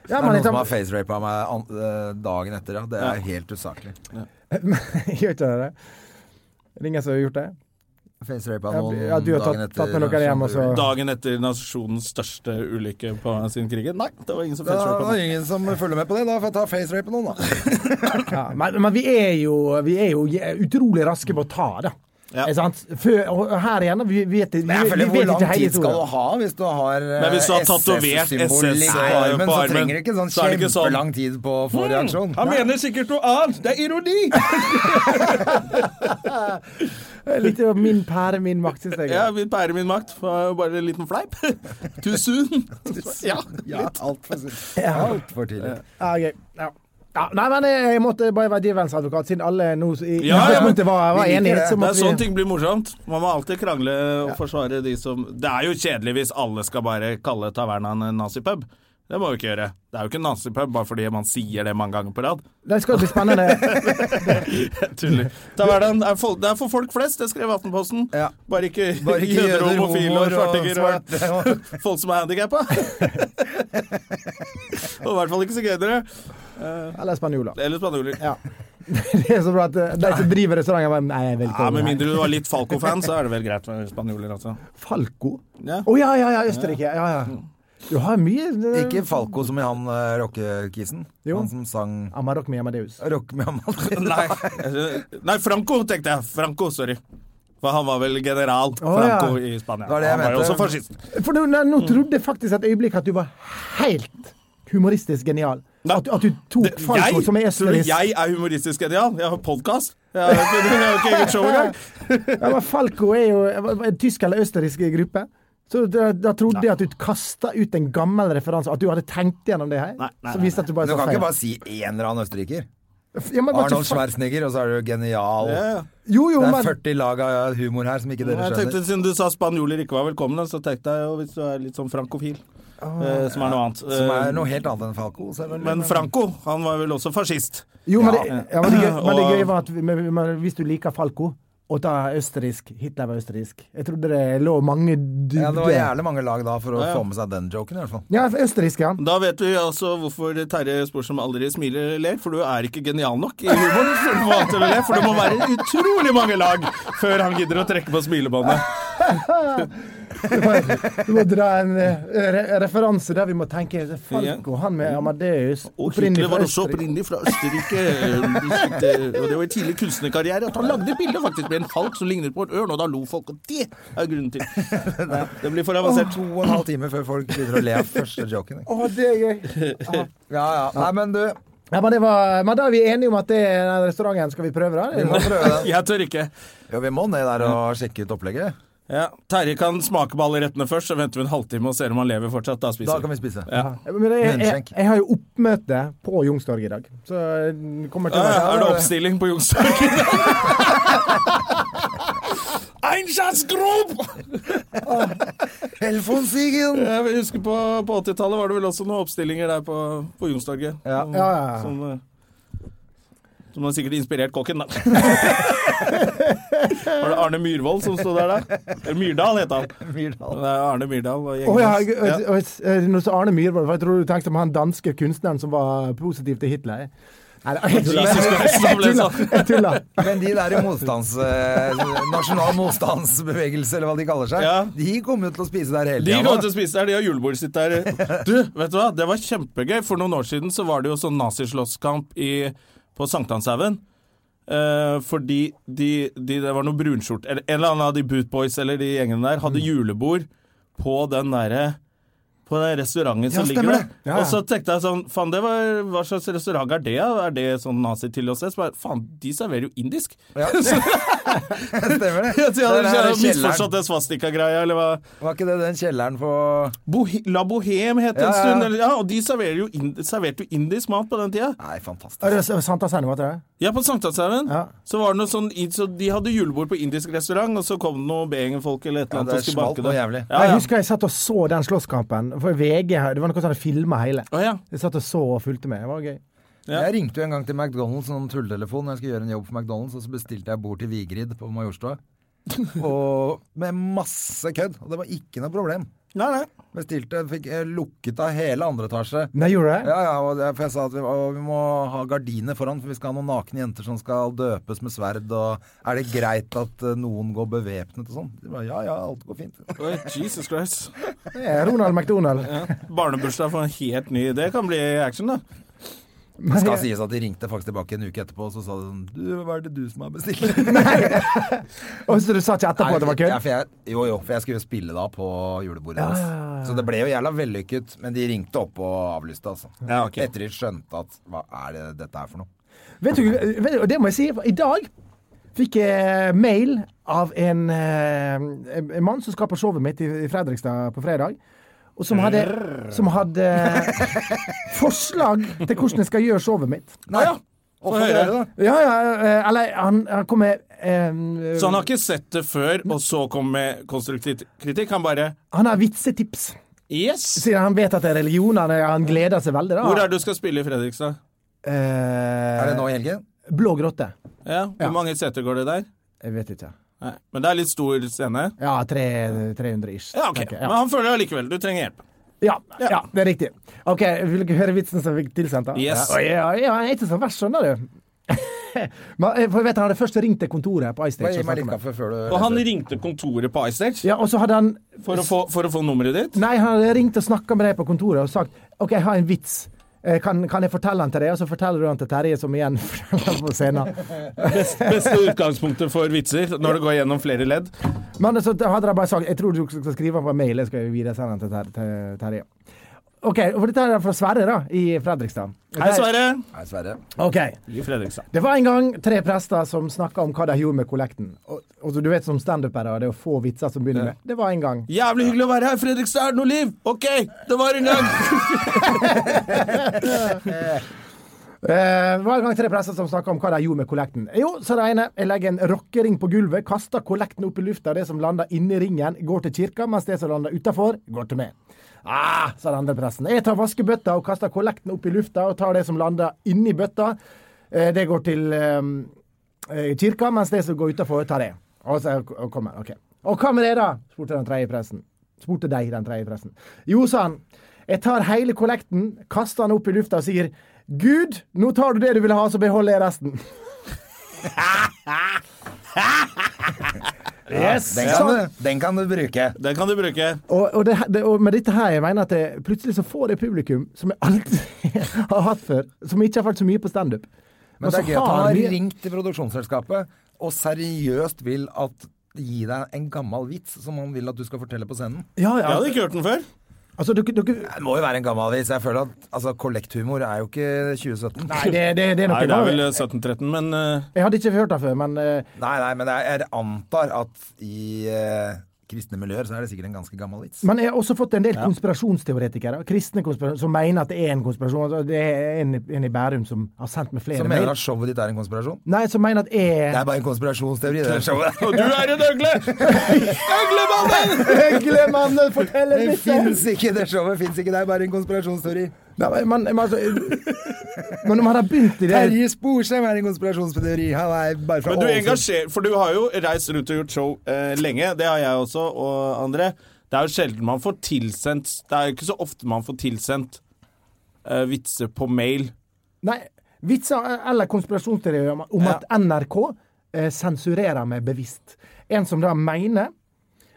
S2: Det
S3: Ja,
S2: er
S3: men
S2: noen som
S3: liksom-
S2: har facerapa meg an- eh, dagen etter, ja. Det er helt usaklig.
S3: Gjør ikke dere det? Er det ingen som har gjort det?
S2: Facerapa
S3: Ja,
S2: noen
S3: ja, du har
S2: dagen
S3: tatt-
S2: etter.
S3: tatt med noen hjem, og så-
S1: Dagen etter nasjonens største ulykke på sin krigen. Nei, det var ingen som
S2: Da
S1: facerapa
S2: er
S1: meg.
S2: det ingen som følger med på det. Da får jeg ta facerape noen, da.
S3: Ja, men men vi, er jo, vi er jo je- utrolig raske på å ta, da.
S1: Ja.
S3: Er sant? Før, og her igjen, vi vet, vi,
S2: Jeg
S3: vi
S2: føler, Hvor
S3: vet
S2: lang
S3: ikke hele
S2: tid skal du
S3: historien.
S2: ha hvis du har eh,
S1: Men hvis du har tatovert
S2: SS-symbol
S1: SS
S2: i
S1: på
S2: armen, så
S1: armen,
S2: trenger du ikke sånn
S1: så er det ikke sånn-
S2: kjempelang tid på å
S3: Mm,
S2: få reaksjon.
S1: Han mener sikkert noe annet! Det er ironi!
S3: Litt av min pære, min makt, syns jeg.
S1: Ja, vil bære min makt. Var Bare en liten fleip. Too soon. Ja,
S2: Ja, altfor alt for tidlig.
S3: Ja, gøy. Ja. Ja, nei, men eh, jeg jeg måtte bare være djevelens advokat, siden alle nå i
S1: Ja, ja, men-
S3: utgangspunktet var,
S2: vi
S3: var
S2: liker
S3: enige.
S2: det.
S3: Så
S1: Det er
S3: måtte
S1: sånn
S3: vi,
S1: ting blir morsomt. Man må alltid krangle og forsvare de som Det er jo kjedelig hvis alle skal bare kalle tavernaen en nazipub. Det må vi ikke gjøre. Det er jo ikke en nazipub bare fordi man sier det mange ganger på rad.
S3: det skal bli spennende.
S1: Tuller. Tavernaen er for, det er for folk flest, det skrev Aftenposten.
S2: Ja.
S1: Bare ikke,
S2: Bare ikke jøder,
S1: homofile og
S2: homoer og
S1: svartinger og,
S2: svarte
S1: folk som er handikappa. og i hvert fall ikke sigøynere.
S3: Eller spanjoler.
S1: Eller spanjoler.
S3: Ja. Det er så bra at eh, de som driver restauranten, bare Nei, jeg vil ikke
S1: Ja, Med mindre du var litt Falco-fan, så er det vel greit med spanjoler, altså.
S3: Falco? Å
S1: Ja.
S3: ja, ja, ja, Østerrike. Ja, ja. Du har mye eh,
S2: Ikke Falco som i han eh, rockekisen.
S3: Jo.
S2: Han som sang
S3: Amarok med Amadeus.
S2: rock med Amalie.
S1: Nei, nei, Franco tenkte jeg. Franco, sorry. For han var vel general
S3: ja.
S1: Franco i Spania.
S2: Det var det jeg
S1: han var jo
S2: mente.
S1: også fascist.
S3: For nå, nå trodde jeg faktisk et øyeblikk at du var helt humoristisk genial.
S1: Nei.
S3: At, at du tok
S1: Det-
S3: Falco,
S1: jeg,
S3: som er
S1: tror du
S3: østerriksk.
S1: jeg er humoristisk genial. Jeg har podkast. Jeg har jeg har ikke eget show engang.
S3: Ja, men Falco er jo er en tysk eller østerriksk gruppe. Så da, da trodde jeg at du kasta ut en gammel referanse, at du hadde tenkt gjennom det her.
S1: Nei, nei,
S3: så viste at du bare
S2: Du
S3: sa
S2: kan
S3: feil.
S2: ikke bare si en eller annen østerriker.
S3: Ja, men, hva-
S2: Arnold Schwarzenegger, og så er du genial.
S3: jo, jo,
S2: Det er
S3: men
S2: 40 lag av humor her som ikke dere
S1: Jeg tenkte
S2: skjønner.
S1: Siden du sa spanjoler ikke var velkomne, så tenkte jeg jo hvis du er litt sånn frankofil,
S3: Ah,
S1: eh, som er noe annet.
S2: Som er
S1: Eh,
S2: noe helt annet enn Falco, selvfølgelig.
S1: Men Franco, han var vel også fascist.
S3: Jo, men, det,
S1: Ja.
S3: ja, men, det, gøy, men det
S1: Og-
S3: gøye var at vi- men, men, hvis du liker Falco og tar østerriksk Hitler var østerriksk. Jeg trodde det lå mange dybder
S2: ja, det var jævlig mange lag da for å
S1: Ja, ja.
S2: få med seg den joken, i hvert fall.
S3: Ja, østerriksk, ja.
S1: Da vet vi altså hvorfor Terje spor som aldri smiler ler, for du er ikke genial nok i humoren. For du må alltid le, for det må være utrolig mange lag før han gidder å trekke på smilebåndet.
S3: Du må dra en eh, re referanse der vi må tenke Falco, han med Amadeus
S1: Og
S3: opprinnelig
S1: Hitler
S3: fra
S1: Mm. var også
S3: Østerrike.
S1: opprinnelig fra Østerrike. eh, slik, eh, Og det var i tidlig kunstnerkarriere at han lagde bilder faktisk med en falk som lignet på en ørn, og da lo folk. Og det er grunnen til. Nei, Det blir for avansert.
S2: To og en halv time før folk begynner å le av første joken.
S3: Å, det er gøy.
S2: Ja, ja. Nei, men du,
S3: Ja, men, det var, men da er vi enige om at det er den restauranten skal vi prøve, da?
S2: vi må prøve den.
S1: Jeg tør ikke.
S2: Jo, vi må ned der og sjekke ut opplegget.
S1: Ja, Terje kan smake på alle rettene først, så venter vi en halvtime og ser om han lever fortsatt. Da
S2: Da
S1: spiser
S2: kan vi spise.
S1: Ja.
S3: Men jeg, jeg,
S2: Lønnskjenk.
S3: jeg har jo oppmøte på Youngstorget i dag, så jeg kommer til å
S1: Ja,
S3: være
S1: ja, er det oppstilling på Youngstorget? Nei, Einsatzgrupp!
S2: Elfonsigen!
S1: Jeg husker på, på 80-tallet var det vel også noen oppstillinger der på, på Youngstorget.
S2: Ja.
S1: Som-
S3: Ja, ja, ja.
S1: Som, eh, som har sikkert inspirert kokken, da. var det Arne Myhrvold som sto der, da? Eller Myrdal het han.
S2: Myrdal.
S1: Det er Arne Myrdal og
S3: Å
S1: gjengen
S3: ja,
S1: hans.
S3: jeg-
S1: Ja.
S3: og- og- eh, når du sa Arne Myhrvold, for jeg tror du tenkte på han danske kunstneren som var positiv til Hitler. Nei, da- jeg tuller.
S1: Jesus Christ, som ble sånn.
S3: Jeg tuller.
S2: Men de der i motstands... eh, nasjonal motstandsbevegelse, eller hva de kaller seg,
S1: Ja.
S2: de kommer jo til å spise der hele
S1: De
S2: tiden,
S1: kommer
S2: da.
S1: til å spise der, de har julebordet sitt der. Du, vet du hva? Det var kjempegøy. For noen år siden så var det jo sånn nazislåsskamp i- på Sankthanshaugen. Eh, fordi de, de, det var noen brunskjort Eller en eller annen av de Bootboys eller de gjengene der hadde julebord på den derre på den restauranten som ligger
S2: stemmer
S1: der.
S2: det.
S3: Ja, ja.
S1: Og så tenkte jeg sånn Faen, det var, hva slags restaurant er det? da? Er det sånn nazi-tilholdssted? Så bare, Faen, de serverer jo indisk!
S2: Ja. Stemmer det?
S1: Jeg
S2: Der er
S1: hadde
S2: det kjelleren.
S1: misforstått det svastika-greia, eller hva?
S2: Var ikke det den kjelleren på
S1: Bohe La Bohème het det en
S2: Ja, ja, ja.
S1: stund. eller- Ja, og de serverer jo ind- serverte jo indisk mat på den tida.
S2: Nei, fantastisk.
S3: Er det Sankthanshaugen, var det det?
S1: Ja, på Sankthanshaugen.
S3: Ja.
S1: Så var det noe sånn i- Så de hadde julebord på indisk restaurant, og så kom det noen Beingen-folk eller et eller
S2: Ja,
S1: annet
S2: det
S1: og skulle
S2: smalt
S1: bake
S2: noe
S1: det.
S2: jævlig.
S1: Ja,
S3: Jeg
S1: ja.
S3: husker jeg satt og så den slåsskampen. For VG her, det var noe som hadde filma hele.
S1: Å, ja.
S3: Jeg satt og så og fulgte med. Det var gøy.
S1: Ja.
S2: Jeg ringte jo en gang til McDonald's sånn tulletelefon når jeg skulle gjøre en jobb for McDonald's, og så bestilte jeg bord til Vigrid på Majorstua. og med masse kødd. Og det var ikke noe problem.
S1: Nei, nei.
S2: Bestilte, fikk eh, lukket av hele andre etasje.
S3: Nei, gjorde du det?
S2: Ja, ja, og det, for jeg sa at vi, og vi må ha gardiner foran, for vi skal ha noen nakne jenter som skal døpes med sverd, og er det greit at eh, noen går bevæpnet og sånn? De bare, Ja, ja, alt går fint.
S1: Oi, Jesus Christ.
S3: Det er Ronald McDonald.
S1: Barnebursdag for en helt ny Det kan bli action, da.
S2: Det skal sies at de ringte faktisk tilbake en uke etterpå, og så sa de sånn, du, hva er det du som har bestilt?
S3: Og så du sa ikke etterpå at det var kødd?
S2: Ja, for jeg, jo, jo, for jeg skulle jo spille da på julebordet deres. Så det ble jo jævla vellykket, men de ringte opp og avlyste, altså.
S1: Ja, ok.
S2: Etter de skjønte at hva er det dette er for noe?
S3: Vet du, vet du, og det må jeg si, for i dag fikk jeg eh, mail av en, eh, en mann som skal på showet mitt i i Fredrikstad på fredag. Og som hadde, som hadde forslag til hvordan jeg skal gjøre showet mitt.
S2: Nei, ja. Få høre det, da.
S3: Ja, ja, eh, eller han, han kom med eh,
S2: Sånn.
S1: Så han har ikke sett det før, og så kom med konstruktiv kritikk. Han bare
S3: Han har vitsetips.
S1: Yes!
S3: Siden han vet at det er religion, han, han gleder seg veldig. da.
S1: Hvor er det du skal spille i Fredrikstad?
S2: Er det
S3: Eh,
S2: nå i helgen?
S3: Blå grotte.
S1: Ja, Hvor
S3: Ja.
S1: mange seter går det der?
S3: Jeg vet ikke.
S1: Nei. Men det er litt stor scene.
S3: Ja, tre, 300 ish.
S1: Ja, ok.
S3: tenker jeg.
S1: Men han føler det allikevel. Du trenger hjelp.
S3: Ja, ja. det er riktig. Ok, Vil dere høre vitsen som fikk tilsendt? da?
S1: Yes.
S3: Ja, ja, ja, jeg er ikke så verst, skjønner du. Men, eh, for jeg vet, Han hadde først ringt til kontoret på
S2: Bare
S3: iStage.
S2: gi meg
S3: og snakket
S2: litt
S3: med meg.
S2: kaffe før du
S1: Og han ringte kontoret på iStage
S3: Ja, og så hadde han
S1: for, å få- for å få nummeret ditt.
S3: Nei, han hadde ringt og snakka med deg på kontoret og sagt OK, jeg har en vits. Eh, Kan, kan jeg fortelle den til deg? Og så forteller du den til Terje, som igjen forteller den på scenen.
S1: Beste utgangspunktet for vitser når det går gjennom flere ledd.
S3: Men så hadde de bare sagt Jeg tror du skal skrive på mail, jeg skal videresende den til Ter- til Terje. OK, og dette er fra Sverre da, i Fredrikstad.
S1: Hei, Sverre.
S2: Nei, Sverre.
S3: Ok.
S1: I Fredrikstad.
S3: Det var en gang tre prester som snakka om hå de gjorde med kollekten. Og, og du vet som standupere, det er jo få vitser som begynner med 'det var en gang'.
S1: Jævlig hyggelig å være her, Fredrikstad. Er det noe liv? OK, det var en gang.
S3: Eh, det var en gang tre prester som snakka om hva de gjorde med kollekten. Jo, sa det ene, jeg legger en rockering på gulvet, kaster kollekten opp i lufta, og det som lander inni ringen, går til kirka, mens det som lander utafor, går til meg. Ah, sa den andre presten. Jeg tar vaskebøtta og kaster kollekten opp i lufta, og tar det som lander inni bøtta, eh, det går til eh, eh, kirka, mens de som går utafor, tar det. Og så og kommer han, ok. Og hva med det, da? spurte den tredje presten. Spurte de, den tredje presten. Jo, sa han. Jeg tar hele kollekten, kaster den opp i lufta og sier Gud, nå tar du det du vil ha, så beholder jeg resten. yes!
S2: Den kan,
S3: sånn.
S2: du, den kan du bruke.
S1: Den kan du bruke.
S3: Og, og, det, det, og med dette her, jeg mener at det, plutselig så får det publikum som jeg aldri har hatt før, som ikke har fått så mye på standup.
S2: Men det
S3: så
S2: er gøy at han
S3: har
S2: har
S3: mye-
S2: ringt til produksjonsselskapet og seriøst vil at gi deg en gammel vits som han vil at du skal fortelle på scenen.
S3: Ja,
S1: Jeg
S3: ja.
S1: hadde ikke hørt den før.
S3: Altså, dere, dere,
S2: Det må jo være en gammel vits. Jeg føler at altså, kollekthumor er jo ikke 2017.
S3: Nei, det, det, det er noe
S1: Nei, det er
S3: galt.
S1: vel 1713, men eh,
S3: Jeg hadde ikke hørt det før, men eh,
S2: Nei, nei, men jeg jeg antar at i eh, kristne miljøer, så er det sikkert en ganske gammel vits.
S3: Man har også fått en del konspirasjonsteoretikere kristne konspirasjon, som mener at det er en konspirasjon. Altså, Det er en, en i Bærum som har sendt meg flere
S2: Som mener
S3: mail.
S2: at showet ditt er en konspirasjon?
S3: Nei, som mener at
S2: Det
S3: jeg
S2: er bare en konspirasjonsteori, det der showet.
S1: Og du er en øgle! Øglemannen!
S3: Øglemannen forteller
S2: Det
S3: litt!
S2: fins ikke, det showet fins ikke, det er bare en konspirasjonsteori.
S3: Nei, men, men, men altså, men når man har begynt i det
S2: Terje Sporsem er en konspirasjonsteori, han er bare fra
S1: Men du
S2: Ålesund.
S1: engasjerer For du har jo reist rundt og gjort show eh, lenge. Det har jeg også, og André. Det er jo sjelden man får tilsendt Det er jo ikke så ofte man får tilsendt eh, vitser på mail.
S3: Nei, vitser eh, eller konspirasjonsteorier om, om
S1: Ja.
S3: at NRK eh, sensurerer meg bevisst. En som da mener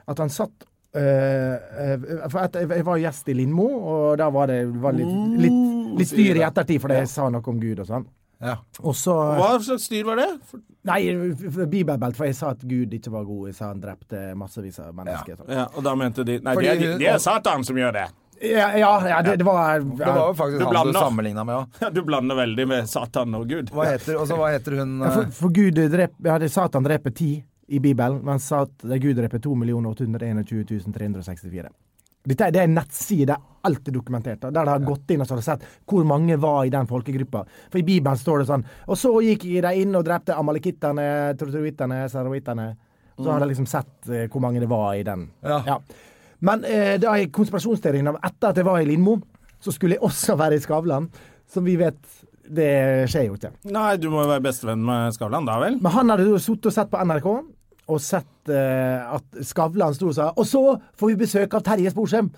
S3: at han satt eh, eh, For at jeg jeg var gjest i Lindmo, og da var det var litt, litt, litt styr i ettertid fordi jeg sa noe om Gud og sånn.
S2: Ja.
S3: Og så
S1: Hva slags styr var det? For,
S3: Nei, bibelbelt, for jeg sa at Gud ikke var god. Jeg sa han drepte massevis av mennesker. og sånn.
S1: ja, og da mente de Nei,
S2: Fordi
S1: det, er, de-
S2: hun-
S1: det er Satan som gjør det.
S3: Ja, ja, ja det, det var
S2: Det var jo faktisk
S1: Du
S2: han du
S1: blander.
S2: sammenligna med òg.
S1: Du blander veldig med Satan og Gud.
S2: Hva heter, og så hva heter hun
S3: Ja, for,
S2: eh,
S3: for Gud drep, ja, det sa at han dreper ti i Bibelen, men sa at Gud dreper 2 821 364. Dette er, det er en nettside, det er alt er dokumentert. da, Der de har gått inn og så har de sett hvor mange var i den folkegruppa. For i Bibelen står det sånn Og så gikk de inn og drepte amalekittene, torturittene, sarawittene. Så har de liksom sett eh, hvor mange det var i den.
S2: Ja.
S3: Men eh, da i konspirasjonsteorien av etter at jeg var i Lindmo, så skulle jeg også være i Skavlan. Som vi vet, det skjer jo ikke.
S1: Nei, du må jo være bestevenn med Skavlan, da vel?
S3: Men han hadde jo sittet og sett på NRK, og sett eh, at Skavlan sto og sa Og så får vi besøk av Terje Sporsem!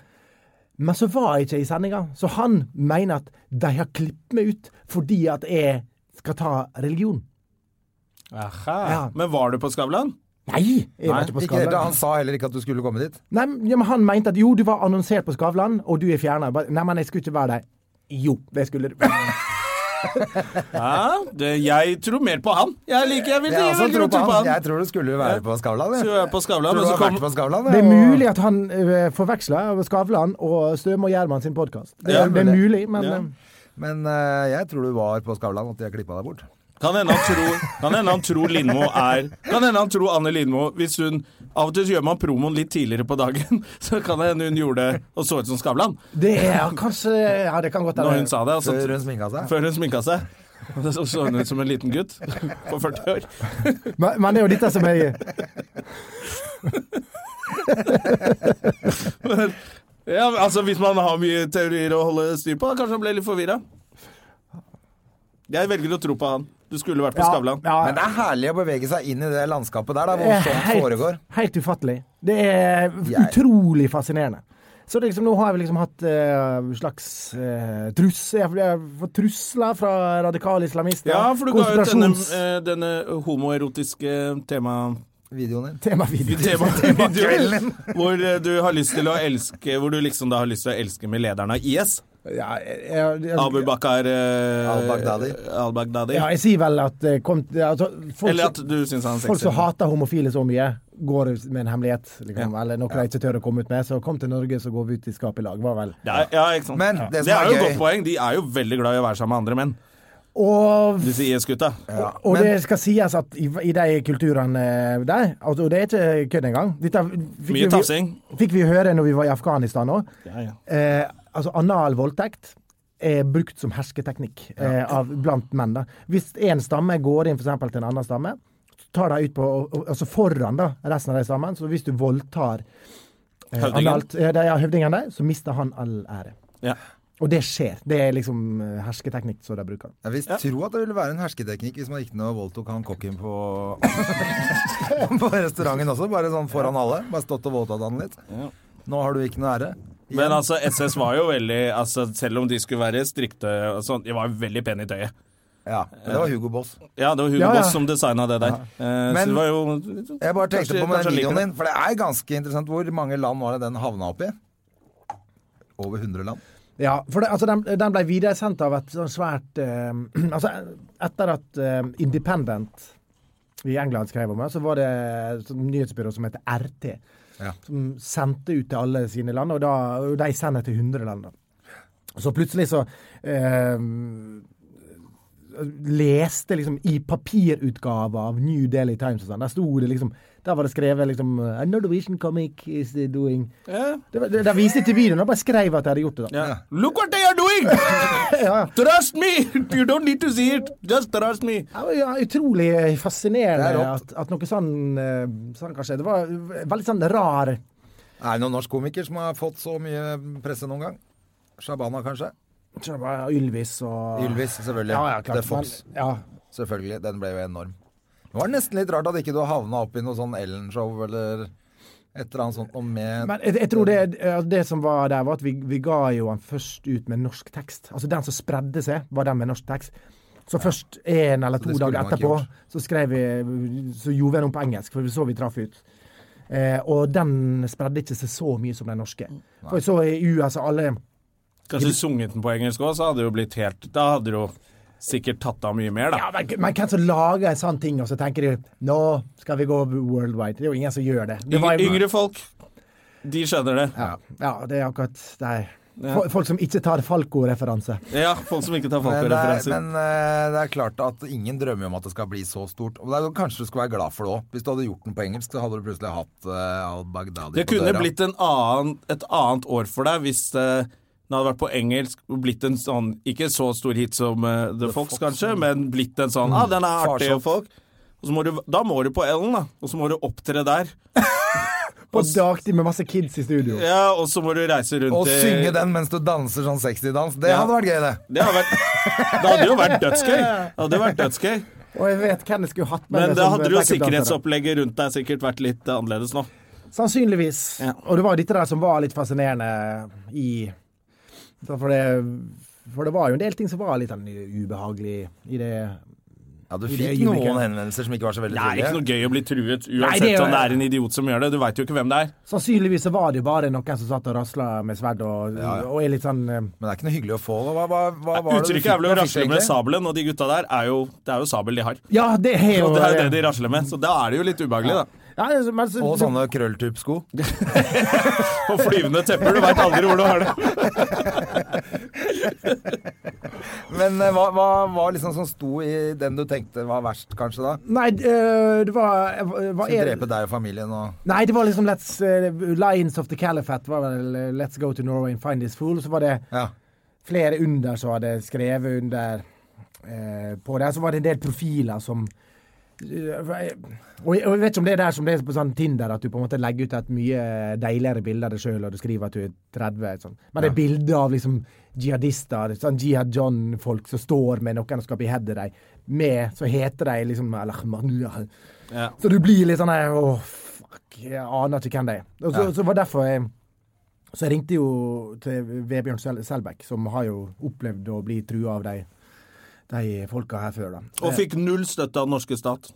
S3: Men så var jeg ikke i sendinga, så han mener at de har klippet meg ut fordi at jeg skal ta religion.
S1: Aha.
S3: Ja.
S1: Men var du på Skavlan?
S3: Nei!
S2: Nei,
S3: Jeg var ikke på
S2: eh, ikke helt,
S3: Skavlan.
S2: han sa heller ikke at du skulle komme dit.
S3: Nei, men- ja, men han mente at jo, du var annonsert på Skavlan, og du er fjerna. Nei, men jeg skulle ikke være der. Jo, det skulle du.
S1: Ja, det, jeg tror mer på han. Jeg liker, jeg vil,
S2: Jeg,
S1: jeg
S2: også
S1: vil
S2: tror på han.
S1: Jeg
S2: jeg tror du skulle være på Skavlan. jeg.
S1: tror jeg er på Skavlan,
S2: Tror
S1: men
S2: du
S1: så
S2: har vært
S1: kom
S2: på Skavlan?
S3: Det
S2: jeg,
S3: er
S2: og-
S3: mulig at han eh, forveksler Skavlan og Støme og Gjerman sin podkast. Det,
S2: Ja,
S3: det er
S2: mulig.
S3: mulig, men
S1: Ja.
S3: eh,
S2: Men eh, jeg tror du var på Skavlan, at de har klippa deg bort.
S1: Kan hende han tror, kan hende han tror Lindmo er Kan hende han tror Anne Lindmo hvis hun Av og til så gjør man promoen litt tidligere på dagen, så kan det hende hun gjorde det og så ut som Skavlan
S3: det er kanskje Ja, det kan godt
S1: når hun sa det. Altså,
S2: Før hun sminka seg.
S1: før hun sminka seg. Og så så hun ut som en liten gutt på 40 år.
S3: Men, men det er jo dette som er
S1: Ja, men altså Hvis man har mye teorier å holde styr på, kanskje han ble litt forvirra. Jeg velger å tro på han. Du skulle vært på Skavlan.
S3: Ja,
S2: Men det er herlig å bevege seg inn i det landskapet der, da,
S3: det
S2: hvor
S3: er
S2: sånt foregår.
S3: helt, helt ufattelig. Det er
S2: Jeg-
S3: utrolig fascinerende. Så det er liksom, nå har jeg liksom hatt eh, slags eh, truss... Jeg har- jeg har fått trusler fra radikale islamister.
S1: Ja, for du ga ut denne,
S3: konspirasjons-
S1: eh, denne homoerotiske tema...
S2: Videoen din.
S3: temavideo.
S1: tema,
S2: Kvelden din.
S1: Hvor eh, du har lyst til å elske Hvor du liksom da har lyst til å elske med lederen av IS.
S3: Ja, jeg, jeg,
S1: Abu
S3: jeg,
S1: Bakar eh,
S2: Al-Baghdadi.
S1: Al-Baghdadi.
S3: ja, jeg sier vel at eh, kom, altså, folk,
S1: Eller at du sånn syns han er
S3: folk
S1: sexy.
S3: som hater homofile så mye, går ut med en hemmelighet. Liksom, Eller noe de ikke tør å komme ut med. Så kom til Norge, så går vi ut i skap i lag, var vel.
S1: Ja, ja, ikke sant.
S2: Men
S1: Ja.
S2: det som
S1: det
S2: er
S1: er jo et
S2: gøy-
S1: godt poeng. De er jo veldig glad i å være sammen med andre menn,
S3: Og
S1: disse IS-gutta.
S2: Ja.
S3: Og
S2: Men
S3: det skal sies at i, i de kulturene der altså, Og det er ikke kødd engang. Dette fikk
S1: Mye
S3: vi-
S1: tafsing.
S3: Fikk vi høre når vi var i Afghanistan òg.
S1: Ja, ja.
S3: Eh, altså anal voldtekt er brukt som hersketeknikk eh, av, blant menn. da. Hvis en stamme går inn for eksempel, til en annen stamme, så tar de ut på og- og- altså foran da, resten av de stammen. Så hvis du voldtar eh,
S1: Høvdingen.
S3: analt, eh, de- ja, høvdingen der, så mister han all ære.
S1: Ja.
S3: Og det skjer. Det er liksom eh, hersketeknikk som de bruker.
S2: Jeg vil tro at det ville være en hersketeknikk hvis man gikk ned og voldtok han kokken på, på restauranten også. Bare sånn foran alle. Bare stått og voldtatt han litt. Nå har du ikke noe ære.
S1: Men altså, SS var jo veldig altså, Selv om de skulle være strikte og sånn, de var veldig pene i tøyet.
S2: Ja, men
S3: eh,
S2: det var Hugo Boss.
S1: Ja, det var Hugo
S3: Ja, ja.
S1: Boss som designa det der. Eh,
S2: Men-
S1: så det var jo
S2: Jeg bare tenkte
S1: Kanskje-
S2: på med
S1: kanskje
S2: den
S1: liker
S2: videoen
S1: det.
S2: din, for det er ganske interessant. Hvor mange land var det den havna opp i? Over 100 land.
S3: Ja, for det, altså den, den ble videresendt av et sånn svært eh, Altså, etter at eh, Independent i England skrev om det, så var det et sånt nyhetsbyrå som heter RT,
S2: Ja.
S3: som sendte ut til alle sine land, og, da, og de sender til 100 land. da. Så plutselig så eh, leste liksom i papirutgave av New Daily Times og sånn, der sto det liksom Der var det skrevet liksom A Norwegian comic is eh, doing
S1: Ja.
S3: Det, var- det, De viste ikke videoen, de bare skrev at de hadde gjort det. da.
S1: Ja. Look what they are doing!
S3: Ja, ja.
S1: Trust me! You don't need to see it. Just trust me.
S3: Ja, men ja, utrolig eh, fascinerende
S2: Det er rått.
S3: at, at noe sånn, eh, sånn kan skje. Det var eh, veldig sånn rar
S2: Er det noen norsk komiker som har fått så mye presse noen gang? Shabana, kanskje?
S3: så det var Ylvis og
S2: Ylvis, selvfølgelig.
S3: Ja, ja, klart.
S2: The Fox,
S3: Men, ja.
S2: selvfølgelig. Den ble jo enorm. Det var nesten litt rart at ikke du havna opp i noe sånn Ellen-show eller et eller annet sånt noe med
S3: Men jeg, jeg tror det, eh, det som var der, var at vi, vi ga jo han først ut med norsk tekst. Altså den som spredde seg, var den med norsk tekst. Så først én eller to
S2: det skulle
S3: dager
S2: man ikke
S3: etterpå
S2: gjort.
S3: så skrev vi Så gjorde vi den om på engelsk, for vi så vi traff ut. Eh, og den spredde ikke seg så mye som den norske. For jeg så i USA alle
S1: Kanskje sunget den på engelsk òg, så hadde det jo blitt helt Da hadde det jo sikkert tatt av mye mer, da.
S3: Ja, men, men hvem som lager en sånn ting, og så tenker de nå skal vi gå worldwide? Det er jo ingen som gjør det. det var-
S1: Yngre, yngre folk, de skjønner det.
S3: Ja, ja, det er akkurat der. Fol- Folk som ikke tar Falco-referanse.
S1: Ja, folk som ikke tar
S2: Men, det er,
S1: folkereferanser.
S2: men eh, det er klart at ingen drømmer jo om at det skal bli så stort. Og det er, jo- kanskje du skulle være glad for det òg. Hvis du hadde gjort den på engelsk, så hadde du plutselig hatt eh, Al-Baghdadi
S1: Det
S2: på
S1: kunne
S2: døra.
S1: blitt en annen, et annet år for deg hvis eh, den hadde vært på engelsk og blitt en sånn Ikke så stor hit som eh, The, Fox, kanskje, men blitt en sånn ah, den er artig
S2: Farsott.
S1: og folk. Og så må du, da må du på Ellen, da. Og så må du opptre der.
S3: På dagtid med masse kids i studio.
S1: Ja, Og så må du reise rundt
S2: Å
S1: i-
S2: synge den mens du danser sånn 60-dans, det
S1: Ja.
S2: hadde vært gøy, det.
S1: Det hadde, vært, det hadde jo vært dødsgøy. Det hadde vært dødsgøy.
S3: Og jeg vet hvem jeg skulle hatt med.
S1: Men sånn,
S3: meg
S1: da
S3: som
S1: hadde jo
S3: backup-dansere.
S1: sikkerhetsopplegget rundt deg sikkert vært litt eh, annerledes nå.
S3: Sannsynligvis.
S1: Ja.
S3: Og det var jo dette der som var litt fascinerende i så For det, for det var jo en del ting som var litt sånn ubehagelig i det
S2: Ja, du
S3: I det
S2: fikk
S3: øyeblikket.
S2: noen henvendelser som ikke var så veldig
S1: Det er ikke
S2: trivelige.
S1: noe gøy å bli truet,
S3: Nei,
S1: uansett
S3: det er jo-
S1: om det er en idiot som gjør det. Du veit jo ikke hvem det er.
S3: Sannsynligvis så var det jo bare noen som satt og rasla med sverd og, og er litt sånn eh,
S2: Men det er ikke noe hyggelig å få. Hva, hva, hva var det du
S1: Uttrykket er vel å
S2: hva fikk du
S1: rasle med
S2: egentlig?
S1: sabelen, og de gutta der er jo Det er jo sabel de har.
S3: Ja, det er jo eh,
S1: Og det er jo det de rasler med, så da er det jo litt ubehagelig, da.
S3: Ja, altså, men så-
S2: Og sånne krølltupsko.
S1: Og flyvende tepper, du veit aldri hvor du har det.
S2: Men eh, hva, hva var liksom som sto i den du tenkte var verst, kanskje, da?
S3: Nei, eh, det var eh, hva
S2: Skulle
S3: er,
S2: drepe deg og familien og
S3: Nei, det var liksom let's, eh, Lions of the Caliphate var vel eh, Let's go to Norway and find this fool. Så var det
S2: Ja.
S3: flere under som hadde skrevet under eh, på det. Så var det en del profiler som eh, og jeg, og jeg vet ikke om det er der som det er på sånn Tinder, at du på en måte legger ut et mye deiligere bilde av deg sjøl, og du skriver at du er 30. Sånn. Men det er bilder av liksom jihadister, sånn Jihad John-folk som står med noen og skal beheade deg, med Så heter de liksom Al-Ahmadiyya.
S1: Ja.
S3: Så du blir litt sånn her Åh, fuck, jeg aner ikke hvem det er. Og så, så var det derfor jeg Så jeg ringte jo til Vebjørn Sel Selbekk, som har jo opplevd å bli trua av de, de folka her før, da. Eh,
S1: Og fikk null støtte av den norske stat.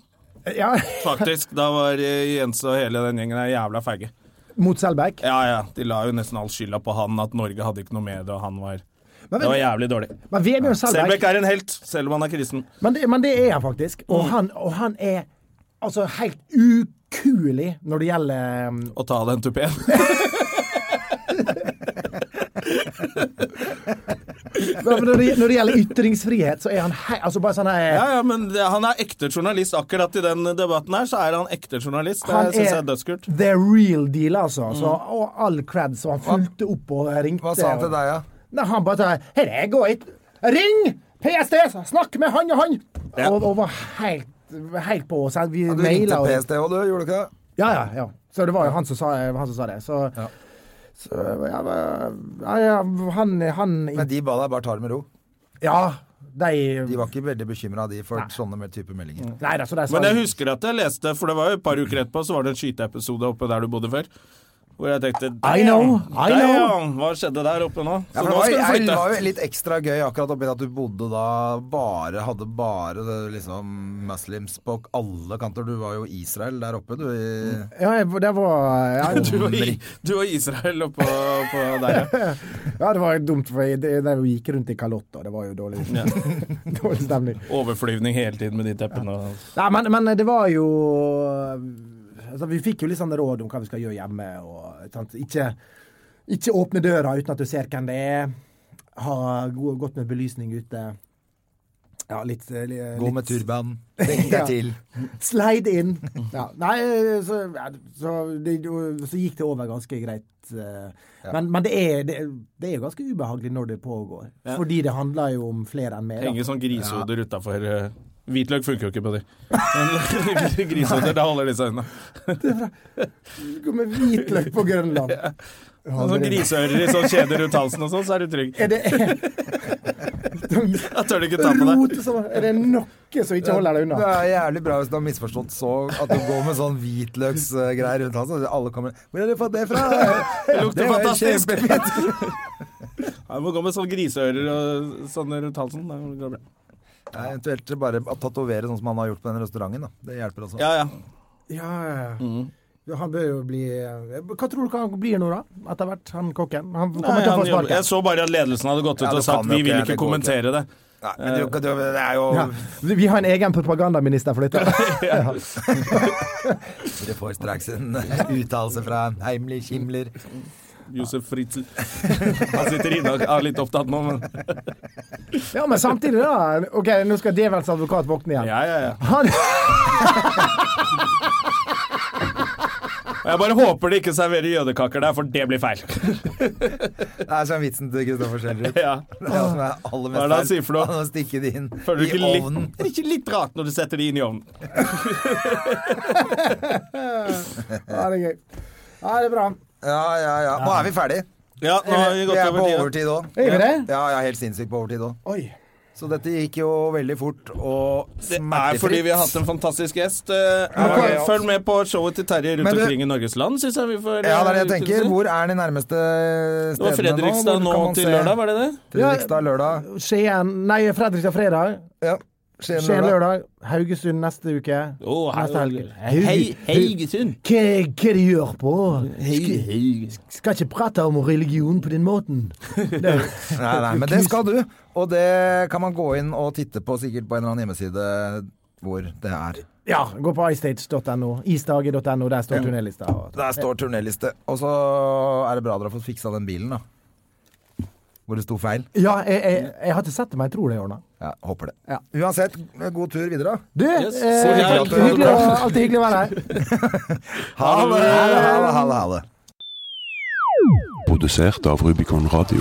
S3: Ja,
S1: Faktisk. Da var eh, Jens og hele den gjengen her jævla feige.
S3: mot Selbekk.
S1: Ja ja, de la jo nesten all skylda på han, at Norge hadde ikke noe med det, og han var
S3: Men,
S1: Det var
S3: men,
S1: jævlig dårlig.
S3: men Vebjørn
S1: Selbekk
S3: Selbekk
S1: er Mm. en helt, selv om han er kristen.
S3: men, det- men det er han faktisk. Og han, og han er altså helt ukuelig når det gjelder um,
S1: Å ta den tupeen.
S3: Når det, når det gjelder ytringsfrihet, så er han hei, altså bare sånn her
S1: Ja, ja, men det, han er ekte journalist. Akkurat i den debatten her, så er han ekte journalist. Det
S3: eh, Han
S1: synes jeg
S3: er
S1: er dødskult. Mm.
S3: the real deal, altså. Så, og all cred, så han fulgte opp og ringte.
S2: Hva sa han
S3: og-
S2: til deg, da?
S3: Nei, han bare tar, Her, jeg går hit. Ring PST! Snakk med han og han!
S1: Ja.
S3: Og, og var helt, helt på. Så vi
S2: Ja? Du
S3: maila
S2: ringte
S3: og
S2: PST òg, du? Gjorde du ikke det?
S3: Ja, ja, ja. Så det var jo han som sa, han som sa det. Så,
S2: Ja.
S3: så ja, ja, ja, han, han
S2: Men de ba deg bare ta det med ro.
S3: Ja, de
S2: De var ikke veldig bekymra, de, for sånne med type
S1: Mm.
S2: meldinger.
S3: Nei da, så de sa
S1: Men jeg husker at jeg leste, for det var jo et par uker etterpå, så var det en skyteepisode oppe der du bodde før. Hvor jeg tenkte
S3: I know, I
S1: damn,
S3: know.
S1: hva skjedde der oppe nå? Så
S2: Ja, for det
S1: nå
S2: var,
S1: skal du
S2: jeg, det
S1: flytte.
S2: var jo litt ekstra gøy akkurat oppi det at du bodde da bare Hadde bare det, liksom muslims på alle kanter. Du var jo Israel der oppe, du. I,
S3: Ja, jeg- det var ja,
S1: Du og, i, du og Israel oppå oppå der, ja.
S3: ja, det var dumt, for jeg det- det gikk rundt i kalott, og det var jo dårlig,
S1: Ja.
S3: dårlig stemning.
S1: Overflyvning hele tiden med de teppene og
S3: Nei, men, men det var jo altså, Vi fikk jo litt sånn råd om hva vi skal gjøre hjemme. Og, sant? Ikke, ikke åpne døra uten at du ser hvem det er. Ha go- godt med belysning ute. Ja, litt, eh, li-
S1: Mm,
S3: eh,
S5: Gå
S3: litt
S5: med turban.
S3: Ja. Slide in. Ja. Nei, så, ja, så, det, så gikk det over ganske greit. eh. Men, men det, er, det, det er jo ganske ubehagelig når det pågår. Fordi det handler jo om flere enn meg.
S1: Henge
S3: da.
S1: sånn grisehoder utafor eh, Hvitløk funker jo ikke på de. Men grisehoder, da holder de seg unna.
S3: Gå med hvitløk på Grønland. Ja,
S1: Sånn
S3: det-
S1: griseører i sånn kjeder rundt halsen og sånn, så er du trygg.
S3: Er det
S1: Da tør du ikke ta på deg.
S3: Rote som sånn. Er det noe som ikke holder deg
S2: Det
S3: unna?
S2: er jævlig bra hvis du har misforstått så At du går med sånn hvitløksgreier rundt halsen. og Alle kommer Hvor har du fått det fra?
S1: Det lukter
S2: var jo
S1: fantastisk!
S2: kjempefint.
S1: Ja, Du må gå med sånn griseører og sånn rundt halsen. Da går det bra.
S2: Ja, eventuelt bare tatovere sånn som han har gjort på den restauranten. Da. Det hjelper også.
S1: Ja, ja.
S3: Ja, ja,
S1: Mm.
S3: ja. Ja, Han bør jo bli eh, Hva tror du han blir nå, da? Etter hvert, han kokken? Han kommer
S1: Nei,
S3: til
S1: han
S3: å få
S1: jobber. Jeg
S3: sparken.
S1: så bare at ledelsen hadde gått ut
S2: Ja,
S1: og
S2: det
S1: sagt
S2: kan jo
S1: vi
S2: ikke,
S1: vil
S2: det
S1: ikke
S2: går
S1: kommentere det.
S2: Nei, men du, du, det er jo
S3: Ja. Vi har en egen propagandaminister for dette.
S2: Dere får straks en uttalelse fra Heimlich Himmler.
S1: Josef Fritzl. Han sitter inne og er litt opptatt nå, men
S3: Ja, men samtidig, da. Ok, nå skal djevelens advokat våkne igjen.
S1: Ja, ja, ja.
S3: Han,
S1: Og Jeg bare håper de ikke serverer jødekaker der, for det blir feil.
S2: Det er sånn vitsen til Kristoffer Schjelderup.
S1: Ja.
S2: Det er som er
S1: Hva
S2: aller
S1: er det han
S2: mest
S1: sier for noe?
S2: Han har stikket det inn
S1: Føler du
S2: i
S1: ikke
S2: ovnen.
S1: litt, er det ikke litt rart når du setter de inn i ovnen?
S3: ja, det er gøy. Ja, det er bra.
S2: Ja, ja, ja. Nå er vi ferdig.
S1: Ja, nå har vi
S2: Vi
S1: gått
S2: er på
S1: over tida.
S2: overtid òg.
S3: Er vi det?
S2: Ja, jeg er helt sinnssykt på overtid òg.
S3: Oi.
S2: Så dette gikk jo veldig fort og
S1: Det er fordi vi har hatt en fantastisk gjest. Eh,
S2: Ja, ja.
S1: Følg med på showet til Terje rundt
S2: Men du-
S1: omkring i Norges land, syns jeg vi får
S2: Ja, det er det jeg
S1: eh,
S2: tenker.
S1: utnyttelse.
S2: Hvor er de nærmeste
S1: Det var
S2: stedene nå? Hvor
S1: Fredrikstad nå
S2: kan man
S1: til
S2: se-
S1: lørdag, var det det?
S2: Fredrikstad lørdag.
S3: Skien Nei, Fredrikstad fredag.
S2: Ja. Skien
S3: Skien
S2: lørdag.
S3: lørdag. Haugesund neste uke.
S1: Å,
S3: neste helg.
S1: Hei, Haugesund.
S3: Hva, hva de gjør på?
S1: Hei, hei.
S3: Skal ikke prate om religion på den måten.
S2: Nei, nei, men det skal du. Og det kan man gå inn og titte på sikkert på en eller annen hjemmeside hvor det er.
S3: Ja, gå på istage.no. Isdage.no. Der står turnélista.
S2: Der står turnéliste. Og så er det bra dere har fått fiksa den bilen, da. Hvor det sto feil.
S3: Ja, jeg, jeg, jeg har ikke sett det, men jeg tror det, Jonna.
S2: Ja, Håper det.
S3: Ja.
S2: Uansett, god tur videre. da.
S3: Du,
S1: Yes. Så
S3: eh,
S1: hyggelig at du
S3: hyggelig
S1: hadde
S3: å,
S1: kommet.
S3: alltid hyggelig å være her.
S2: Ha det! Ha det, ha det, ha det, ha det.
S6: Produsert av Rubicon Radio.